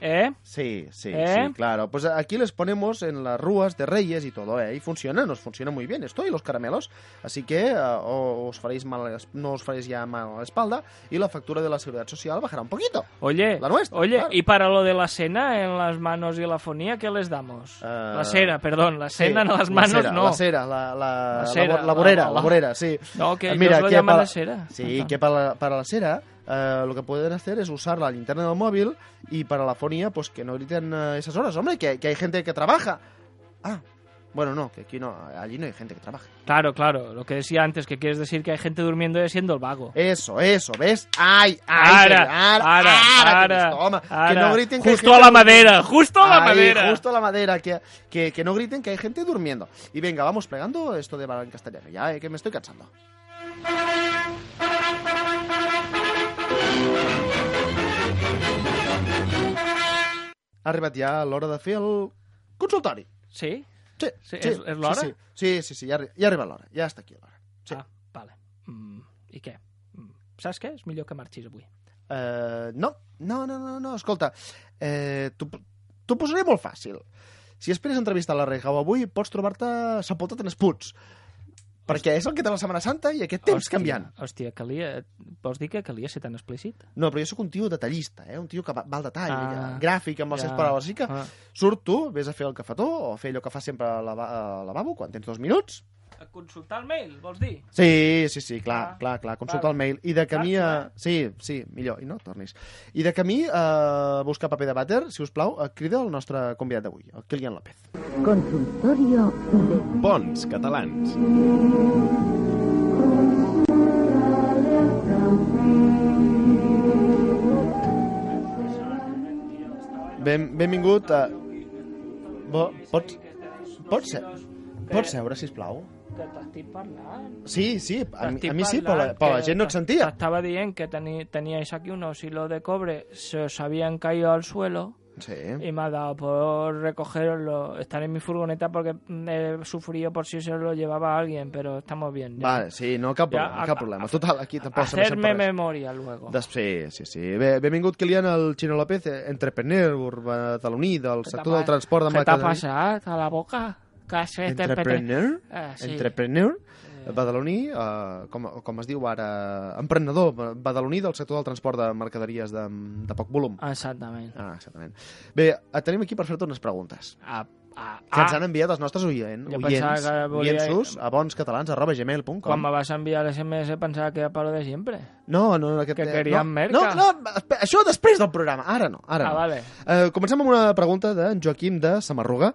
Speaker 4: ¿Eh?
Speaker 1: Sí, sí,
Speaker 4: ¿Eh?
Speaker 1: sí, claro. Pues aquí les ponemos en las rúas de Reyes y todo, ¿eh? Y funciona, nos funciona muy bien esto y los caramelos. Así que eh, o os faréis mal, a la es- no os faréis ya mal a la espalda y la factura de la seguridad social bajará un poquito.
Speaker 4: Oye,
Speaker 1: La nuestra,
Speaker 4: oye,
Speaker 1: claro.
Speaker 4: y para lo de la cena en las manos y la fonía, ¿qué les damos?
Speaker 1: Eh,
Speaker 4: La cera, perdón, la cena
Speaker 1: Sí,
Speaker 4: en las manos
Speaker 1: la cera,
Speaker 4: no.
Speaker 1: La cera, la, la,
Speaker 4: La
Speaker 1: la,
Speaker 4: cera,
Speaker 1: bo- la vorera,
Speaker 4: la-
Speaker 1: la,
Speaker 4: la-
Speaker 1: vorera, sí.
Speaker 4: No, que
Speaker 1: Eh,
Speaker 4: ellos lo
Speaker 1: que
Speaker 4: llaman
Speaker 1: para-
Speaker 4: la cera.
Speaker 1: Sí,
Speaker 4: Ajá.
Speaker 1: que para la, para la cera eh, lo que pueden hacer es usar la linterna del móvil y para la fonía, pues que no griten eh, esas horas. Hombre, que, que hay gente que trabaja. Ah, bueno, no, que aquí no, allí no hay gente que trabaje.
Speaker 4: Claro, claro, lo que decía antes, que quieres decir que hay gente durmiendo y siendo el vago.
Speaker 1: Eso, eso, ¿ves? Ah. ¡Ay, ay!
Speaker 4: Ara,
Speaker 1: ara,
Speaker 4: ara,
Speaker 1: ara,
Speaker 4: ara,
Speaker 1: Cristo, home,
Speaker 4: ara.
Speaker 1: Que no griten que hay
Speaker 4: Justo
Speaker 1: gente
Speaker 4: a la
Speaker 1: durmiendo.
Speaker 4: madera, justo a la
Speaker 1: Ahí,
Speaker 4: madera.
Speaker 1: Justo a la madera, que, que, que no griten que hay gente durmiendo. Y venga, vamos plegando esto de bala en castellano, ya, eh, que me estoy cansando. Ha arribat ja l'hora de fer el consultori.
Speaker 4: Sí?
Speaker 1: Sí,
Speaker 4: Sí, és- és l'hora?
Speaker 1: Sí, sí, sí, sí ja, arri- ja arriba l'hora, ja està aquí l'hora. Sí.
Speaker 4: Ah, vale. Mm, I què? Mm, Saps què? És millor que marxis avui.
Speaker 1: Eh, no, no, no, no, no, escolta, eh, t'ho t'ho posaré molt fàcil. Si esperes entrevistar la Rejau avui, pots trobar-te sepultat en esputs. Perquè és el que té la Setmana Santa i aquest temps
Speaker 4: Hòstia,
Speaker 1: canviant.
Speaker 4: Hòstia, calia... Vols dir que calia ser tan explícit?
Speaker 1: No, però jo sóc un tio detallista, eh? un tio que va, va al detall,
Speaker 4: Ah,
Speaker 1: ah, gràfic, amb les ja.
Speaker 4: ja.
Speaker 1: seves paraules. Així que
Speaker 4: Ah.
Speaker 1: surt tu, vés a fer el cafetó o a fer allò que fa sempre al lava- al lavabo quan tens dos minuts.
Speaker 4: A consultar el mail, vols dir?
Speaker 1: Sí, sí, sí, clar,
Speaker 4: Ah,
Speaker 1: clar, clar, consulta
Speaker 4: vale.
Speaker 1: el mail. I de camí a... eh,
Speaker 4: Clar,
Speaker 1: Sí, sí, millor, i no tornis. I de camí a buscar eh, paper de vàter, si us plau, eh, crida el nostre convidat d'avui, el Kilian López.
Speaker 7: Consultorio de
Speaker 12: Bons catalans.
Speaker 1: Ben, benvingut a... Bo, pots... Pots, se... pots seure, sisplau?
Speaker 4: que t'estic parlant.
Speaker 1: Sí, sí, a, mi-
Speaker 4: T'estic
Speaker 1: a mi sí, però la,
Speaker 4: parlant
Speaker 1: però la
Speaker 4: que
Speaker 1: gent no et sentia.
Speaker 4: Estaba diciendo que teni- teníais aquí unos hilos de cobre, se os habían caído al suelo
Speaker 1: Sí.
Speaker 4: y me ha dado por recogerlo. Están en mi furgoneta porque mm, he sufrido por si se lo llevaba alguien, pero estamos bien. ya.
Speaker 1: Vale, sí, no, cap
Speaker 4: Ja,
Speaker 1: problema,
Speaker 4: a-
Speaker 1: cap problema. Total, aquí tampoc se m'aixem
Speaker 4: Hacerme
Speaker 1: per res.
Speaker 4: memoria luego.
Speaker 1: Des, sí, sí, sí. Bé, benvingut, Kilian, al Xino López, eh, entrepreneur, urbà taloní del sector
Speaker 4: eh.
Speaker 1: del transport de
Speaker 4: ¿Qué te ha
Speaker 1: Mercaderies.
Speaker 4: pasado a la boca? ¿Qué has hecho?
Speaker 1: Entrepreneur?
Speaker 4: Ah, sí.
Speaker 1: Entrepreneur? Badaloní, eh, com, com es diu ara, emprenedor, badaloní del sector del transport de mercaderies de, de poc volum.
Speaker 4: Exactament.
Speaker 1: Ah, exactament. Bé, et tenim aquí per fer-te unes preguntes.
Speaker 4: Ah, ah,
Speaker 1: Que ens
Speaker 4: ah.
Speaker 1: han enviat els nostres oient,
Speaker 4: Jo pensava
Speaker 1: oients,
Speaker 4: que volia-
Speaker 1: oientsos, a bonscatalans.gmail.com.
Speaker 4: Quan me vas a enviar el SMS pensaba que era para lo de siempre.
Speaker 1: No, no, no, aquest,
Speaker 4: Que
Speaker 1: eh,
Speaker 4: queríem
Speaker 1: no,
Speaker 4: merca.
Speaker 1: No, no, espera, això després del programa, ara no. Ara
Speaker 4: Ah,
Speaker 1: no.
Speaker 4: vale.
Speaker 1: Eh, comencem amb una pregunta d'en Joaquim de Samarruga.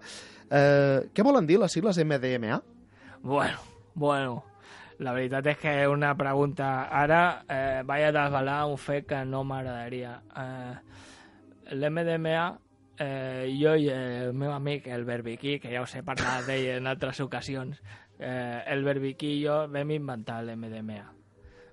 Speaker 1: Eh, què volen dir les sigles MDMA?
Speaker 4: Bueno, bueno. La veritat és que és una pregunta. Ara eh, vaig a desvelar un fet que no m'agradaria. Eh, L'MDMA, eh, jo i el meu amic, el Berbiquí, que ja us he parlat d'ell en altres ocasions, eh, el Berbiquí i jo vam inventar l'MDMA.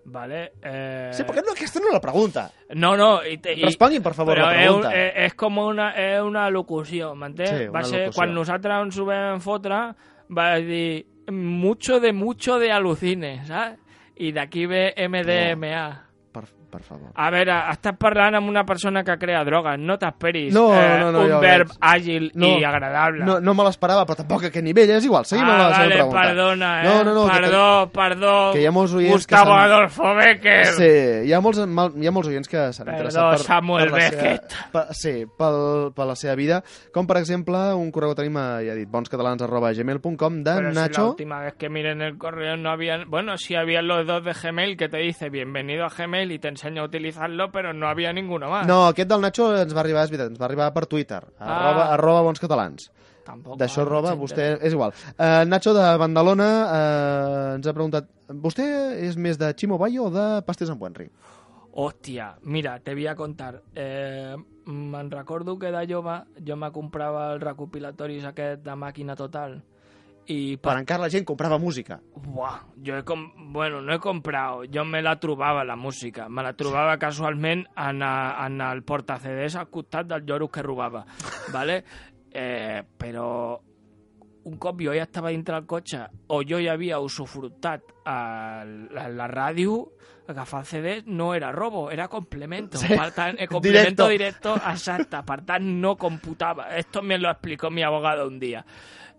Speaker 4: Vale? Eh...
Speaker 1: Sí, perquè no, aquesta no és la pregunta.
Speaker 4: No, no, i, te- i
Speaker 1: Responguin, per favor,
Speaker 4: però
Speaker 1: la
Speaker 4: és un-
Speaker 1: pregunta.
Speaker 4: És, és com una, és una locució, m'entens?
Speaker 1: Sí, una
Speaker 4: va ser,
Speaker 1: locució.
Speaker 4: quan nosaltres ens ho vam fotre, va dir mucho de mucho de alucines, saps? I d'aquí ve MDMA.
Speaker 1: Per, per favor.
Speaker 4: A veure, estàs parlant amb una persona que crea drogues, no t'esperis
Speaker 1: No,
Speaker 4: eh,
Speaker 1: no, no,
Speaker 4: un
Speaker 1: ja ho
Speaker 4: verb
Speaker 1: veig.
Speaker 4: àgil
Speaker 1: No,
Speaker 4: i agradable.
Speaker 1: No, no me l'esperava, però tampoc a aquest nivell, és igual. Seguim amb
Speaker 4: ah,
Speaker 1: la
Speaker 4: vale,
Speaker 1: següent pregunta.
Speaker 4: perdona, eh?
Speaker 1: No, no, no, que te-
Speaker 4: perdó, perdó.
Speaker 1: que hi ha molts oients que
Speaker 4: Gustavo
Speaker 1: s'han-
Speaker 4: Adolfo Becker.
Speaker 1: Sí, hi ha molts, mal- hi ha molts oients que s'han
Speaker 4: Perdó,
Speaker 1: interessat per,
Speaker 4: Samuel
Speaker 1: per la
Speaker 4: Beckett.
Speaker 1: seva, per, sí, pel, per la seva vida, com per exemple un correu que tenim, eh, ja he dit, bonscatalans.gmail.com de
Speaker 4: Pero si la
Speaker 1: Nacho.
Speaker 4: última vez que miré en el correo no habían... Bueno, sí habían los dos de Gmail que te dice bienvenido a Gmail y te enseña a utilizarlo, pero no había ninguno más.
Speaker 1: No, aquest del Nacho ens va arribar, és veritat, ens va arribar per Twitter,
Speaker 4: Ah.
Speaker 1: arroba, arroba bons catalans.
Speaker 4: Tampoc.
Speaker 1: D'això
Speaker 4: ah,
Speaker 1: arroba,
Speaker 4: no
Speaker 1: vostè... És igual. Uh, Nacho de Bandalona uh, ens ha preguntat vostè és més de Chimo Bayo o de Pastes amb Buenri?
Speaker 4: Hostia, mira, te voy a contar. Eh, me'n recordo que de jove jo me comprava els recopilatoris aquest de màquina total i
Speaker 1: Per encara la gent comprava música.
Speaker 4: Buah, jo he com... Bueno, no he comprat, jo me la trobava, la música. Me la trobava casualment en, a, en el portacedés al costat del lloros que robava, ¿vale? Eh, però un cop jo ja estava dintre del cotxe o jo ja havia usufructat a la, la ràdio, agafar el CD no era robo, era complemento.
Speaker 1: Sí,
Speaker 4: Per tant, eh, complemento
Speaker 1: directo.
Speaker 4: directo, exacta. Per tant, no computaba. Esto me lo explicó mi abogado un día.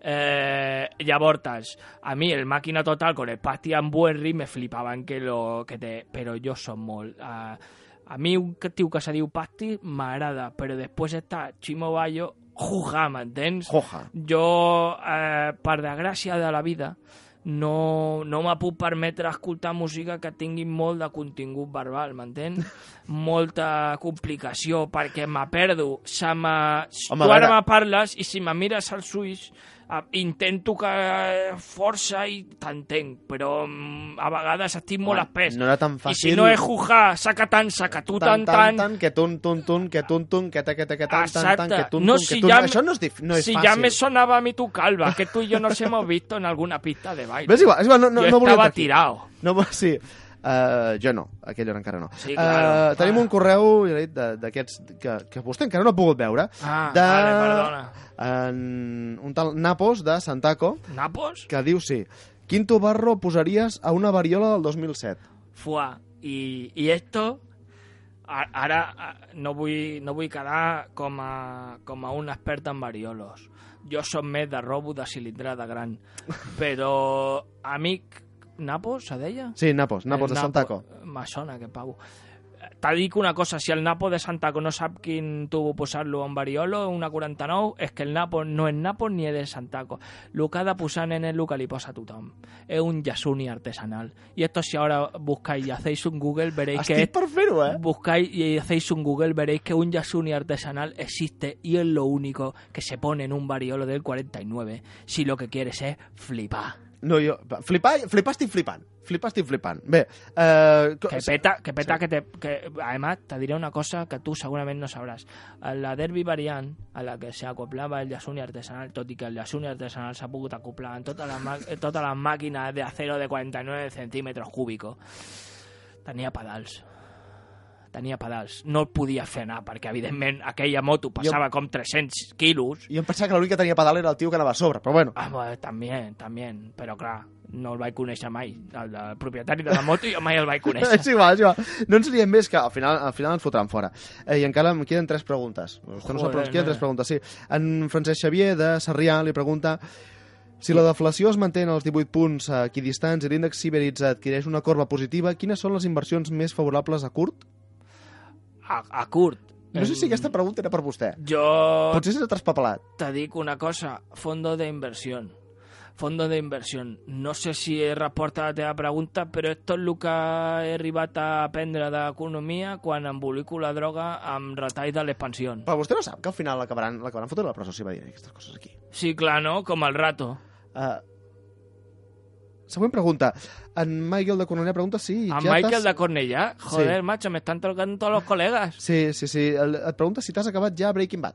Speaker 4: Eh, y abortas. A mí el máquina total con el Pasti and Buenri me flipaban que lo que te... Pero yo son molt... ah, a mí un tío que se diu Pasti m'agrada, pero después está Chimo Bayo, jugá, ¿m'entens?
Speaker 1: Joja.
Speaker 4: Jo, eh, per desgràcia de la vida, no, no me puc permetre escoltar música que tingui molt de contingut verbal, m'entén? Molta complicació, perquè me perdo. Se me...
Speaker 1: Home,
Speaker 4: tu
Speaker 1: a
Speaker 4: ara
Speaker 1: veure.
Speaker 4: me parles i si me mires als ulls eh, intento que eh, força i t'entenc, però mm, a vegades estic molt
Speaker 1: Home,
Speaker 4: espès.
Speaker 1: no era tan
Speaker 4: I si
Speaker 1: fàcil.
Speaker 4: no és jujar, saca tant, saca tu
Speaker 1: Tan,
Speaker 4: tant, tant,
Speaker 1: tan, que tun, tun, tun, que tun, tun, que ta, que ta, que tan, tan,
Speaker 4: Exacte.
Speaker 1: tan, que tun,
Speaker 4: no,
Speaker 1: tun,
Speaker 4: si
Speaker 1: que tun.
Speaker 4: ya me-
Speaker 1: Això no és, dif... no és
Speaker 4: si
Speaker 1: fàcil.
Speaker 4: ya me sonaba a mí tu calva, que tú y yo nos hemos visto en alguna pista de baile.
Speaker 1: Bé, és igual, és igual, no, no,
Speaker 4: Yo
Speaker 1: no volia
Speaker 4: estaba
Speaker 1: entrar aquí.
Speaker 4: tirado.
Speaker 1: No, vo- sí. Uh, jo no, aquell hora encara no.
Speaker 4: Sí, claro.
Speaker 1: Eh, tenim
Speaker 4: Ah.
Speaker 1: un correu ja he dit, de- d'aquests que, que vostè encara no ha pogut veure.
Speaker 4: Ah,
Speaker 1: de...
Speaker 4: vale, perdona.
Speaker 1: En, un tal Napos de Santaco
Speaker 4: ¿Napos?
Speaker 1: que diu sí. Quinto Barro posaries a una variola del 2007.
Speaker 4: Fua. Y, y esto... a- Ara a- no vull, no vull quedar com a, com a un expert en variolos. Jo som més de robo de cilindrada gran. Però, amic... Napos, se deia?
Speaker 1: Sí, Napos, Napos
Speaker 4: El
Speaker 1: de Santaco.
Speaker 4: Me sona, que pavo. Te dic una cosa, si el Napo de Santaco no sap quin tubo posar-lo en Variolo, una 49, és que el Napo no és Napo ni és de Santaco. Lo que ha de posar en el que li posa tothom. És un Yasuni artesanal. I esto si ahora buscáis y hacéis un Google, veréis que
Speaker 1: Estic
Speaker 4: es-
Speaker 1: per fer-ho, eh?
Speaker 4: Buscáis y hacéis un Google, veréis que un Yasuni artesanal existe y es lo único que se pone en un variolo del 49 si lo que quieres es flipar.
Speaker 1: No, jo... va, Flipar, flipar estic flipant. Flipar estic flipant. Bé, eh, co-
Speaker 4: Que peta, que peta, que te... Que, además, te diré una cosa que tú seguramente no sabrás. A La derby variant a la que se acoplaba el Yasuni artesanal, tot i que el Yasuni artesanal s'ha pogut acoplar en totes les, mà- eh, totes les màquines de acero de 49 centímetres cúbicos, tenia pedals. Tenia pedals. No el podia frenar, perquè, evidentment, aquella moto passava com 300 quilos
Speaker 1: Jo em pensava que l'únic que tenia pedal era el tio que anava a sobre, però bueno.
Speaker 4: Ah, bueno, també, també, però clar, no el vaig conèixer mai. El, del propietari de la moto jo mai el vaig conèixer.
Speaker 1: És igual, és igual. No ens diem més que al final, al final ens fotran fora. Eh, I encara em queden tres preguntes. Vostè no sap, però
Speaker 4: Joder,
Speaker 1: ens queden tres
Speaker 4: nena.
Speaker 1: preguntes, sí. En Francesc Xavier de Sarrià li pregunta si la deflació es manté en els 18 punts equidistants i l'índex Siberitz adquireix una corba positiva, quines són les inversions més favorables a curt?
Speaker 4: A, a curt.
Speaker 1: No sé si aquesta pregunta era per vostè.
Speaker 4: Jo
Speaker 1: Potser s'ha traspapelat.
Speaker 4: te dic una cosa, fondo de inversión. Fondo de inversión. No sé si he respost a la teva pregunta, però esto és el que he arribat a aprendre d'economia quan embolico la droga amb retall de l'expansió.
Speaker 1: Però vostè no sap que al final l'acabaran l'acabaran fotent a la presó si va dir aquestes coses aquí.
Speaker 4: Sí, clar, no? Com el rato.
Speaker 1: Uh, següent pregunta. En Michael de Cornellà pregunta si...
Speaker 4: A
Speaker 1: ja t'has-
Speaker 4: Michael de Cornellà. Joder,
Speaker 1: Sí.
Speaker 4: macho, me están tocando todos los colegas.
Speaker 1: Sí, sí, sí. El- Et pregunta si t'has acabat ja Breaking Bad.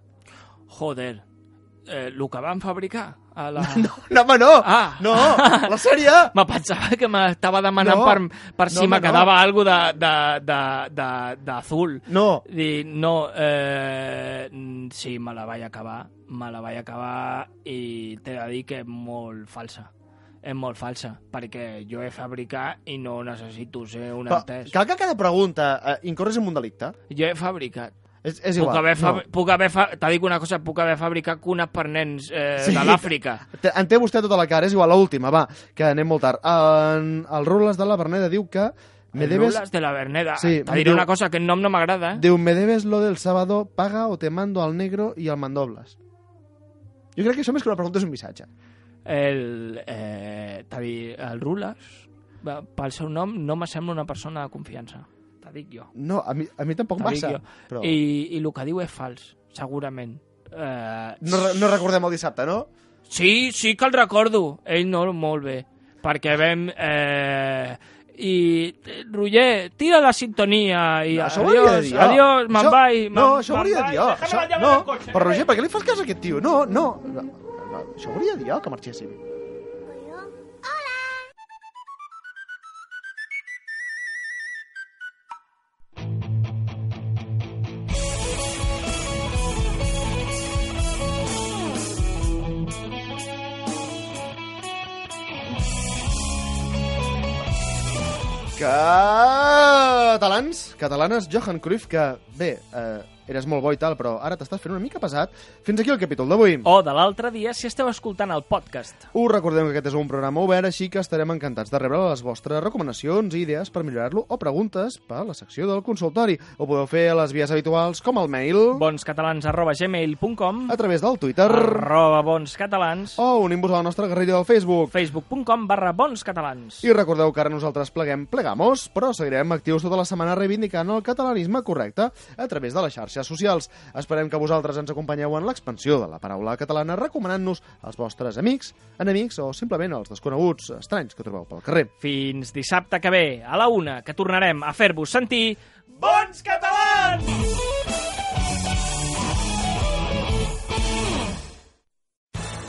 Speaker 4: Joder, eh, el que van fabricar a la...
Speaker 1: No, no home, no!
Speaker 4: Ah.
Speaker 1: No, la sèrie!
Speaker 4: Me pensava que m'estava demanant
Speaker 1: No.
Speaker 4: no, per, per
Speaker 1: No,
Speaker 4: si
Speaker 1: home,
Speaker 4: me
Speaker 1: no.
Speaker 4: quedava algo de- de- de- de- d'azul.
Speaker 1: No,
Speaker 4: Dic, no, eh, mm, sí, me la vaig acabar, me la vaig acabar i t'he de dir que és molt falsa. És molt falsa, perquè jo he fabricat i no necessito ser un
Speaker 1: però
Speaker 4: entès.
Speaker 1: cal que cada pregunta eh, incorres en un delicte.
Speaker 4: Jo he fabricat.
Speaker 1: És, és
Speaker 4: Puc
Speaker 1: igual.
Speaker 4: haver, fa...
Speaker 1: no.
Speaker 4: puc haver fa... T'ha dic una cosa, puc haver fabricat cunes per nens eh,
Speaker 1: Sí.
Speaker 4: de l'Àfrica.
Speaker 1: Te- En té vostè tota la cara, és igual, l'última, va, que anem molt tard. En, el Rules de la Berneda diu que... Me
Speaker 4: El
Speaker 1: debes,
Speaker 4: Rulas de la Verneda.
Speaker 1: Sí,
Speaker 4: Te
Speaker 1: me
Speaker 4: diré
Speaker 1: diu-
Speaker 4: una cosa, que el nom no m'agrada, eh?
Speaker 1: diu, me debes lo del sábado, paga o te mando al negro i al mandobles. Jo crec que això més que una pregunta és un missatge.
Speaker 4: El, eh, t'ha dit, el Rulas, va, pel seu nom, no me sembla una persona de confiança. T'ha dic jo.
Speaker 1: No, a mi, a mi tampoc
Speaker 4: T'ha dit
Speaker 1: massa.
Speaker 4: jo.
Speaker 1: Però...
Speaker 4: I, I el que diu és fals, segurament. Eh,
Speaker 1: No, re- no recordem el dissabte, no?
Speaker 4: Sí, sí que el recordo. Ell no, molt bé. Perquè vam... Eh, i eh, Roger, tira la sintonia i
Speaker 1: Això ho hauria de
Speaker 4: adiós,
Speaker 1: dir jo.
Speaker 4: adiós, me'n
Speaker 1: Això-
Speaker 4: vaig.
Speaker 1: No,
Speaker 4: me'n-
Speaker 1: això ho
Speaker 4: me'n
Speaker 1: hauria de
Speaker 4: vaig,
Speaker 1: dir jo.
Speaker 4: déjame
Speaker 1: Això,
Speaker 4: la llave
Speaker 1: no,
Speaker 4: del cotxe,
Speaker 1: però
Speaker 4: no
Speaker 1: Roger, per què li fas cas a aquest tio? No, no. no, no això ho hauria de dir jo, que marxéssim. Catalans, catalanes, Johan Cruyff, que bé, eh, eres molt bo i tal, però ara t'estàs fent una mica pesat. Fins aquí el capítol d'avui.
Speaker 13: O de l'altre dia si esteu escoltant el podcast.
Speaker 1: Us recordem que aquest és un programa obert, així que estarem encantats de rebre les vostres recomanacions i idees per millorar-lo o preguntes per la secció del consultori. Ho podeu fer a les vies habituals com el mail,
Speaker 13: Bonscatalans arroba gmail.com
Speaker 1: a través del Twitter
Speaker 13: arroba bonscatalans
Speaker 1: o unint-vos a la nostra guerrilla del Facebook.
Speaker 13: facebook.com barra bonscatalans.
Speaker 1: I recordeu que ara nosaltres pleguem, plegamos, però seguirem actius tota la setmana reivindicant el catalanisme correcte a través de les xarxes socials. Esperem que vosaltres ens acompanyeu en l'expansió de la paraula catalana recomanant-nos als vostres amics, enemics o simplement als desconeguts estranys que trobeu pel carrer.
Speaker 13: Fins dissabte que ve, a la una, que tornarem a fer-vos sentir bons catalans!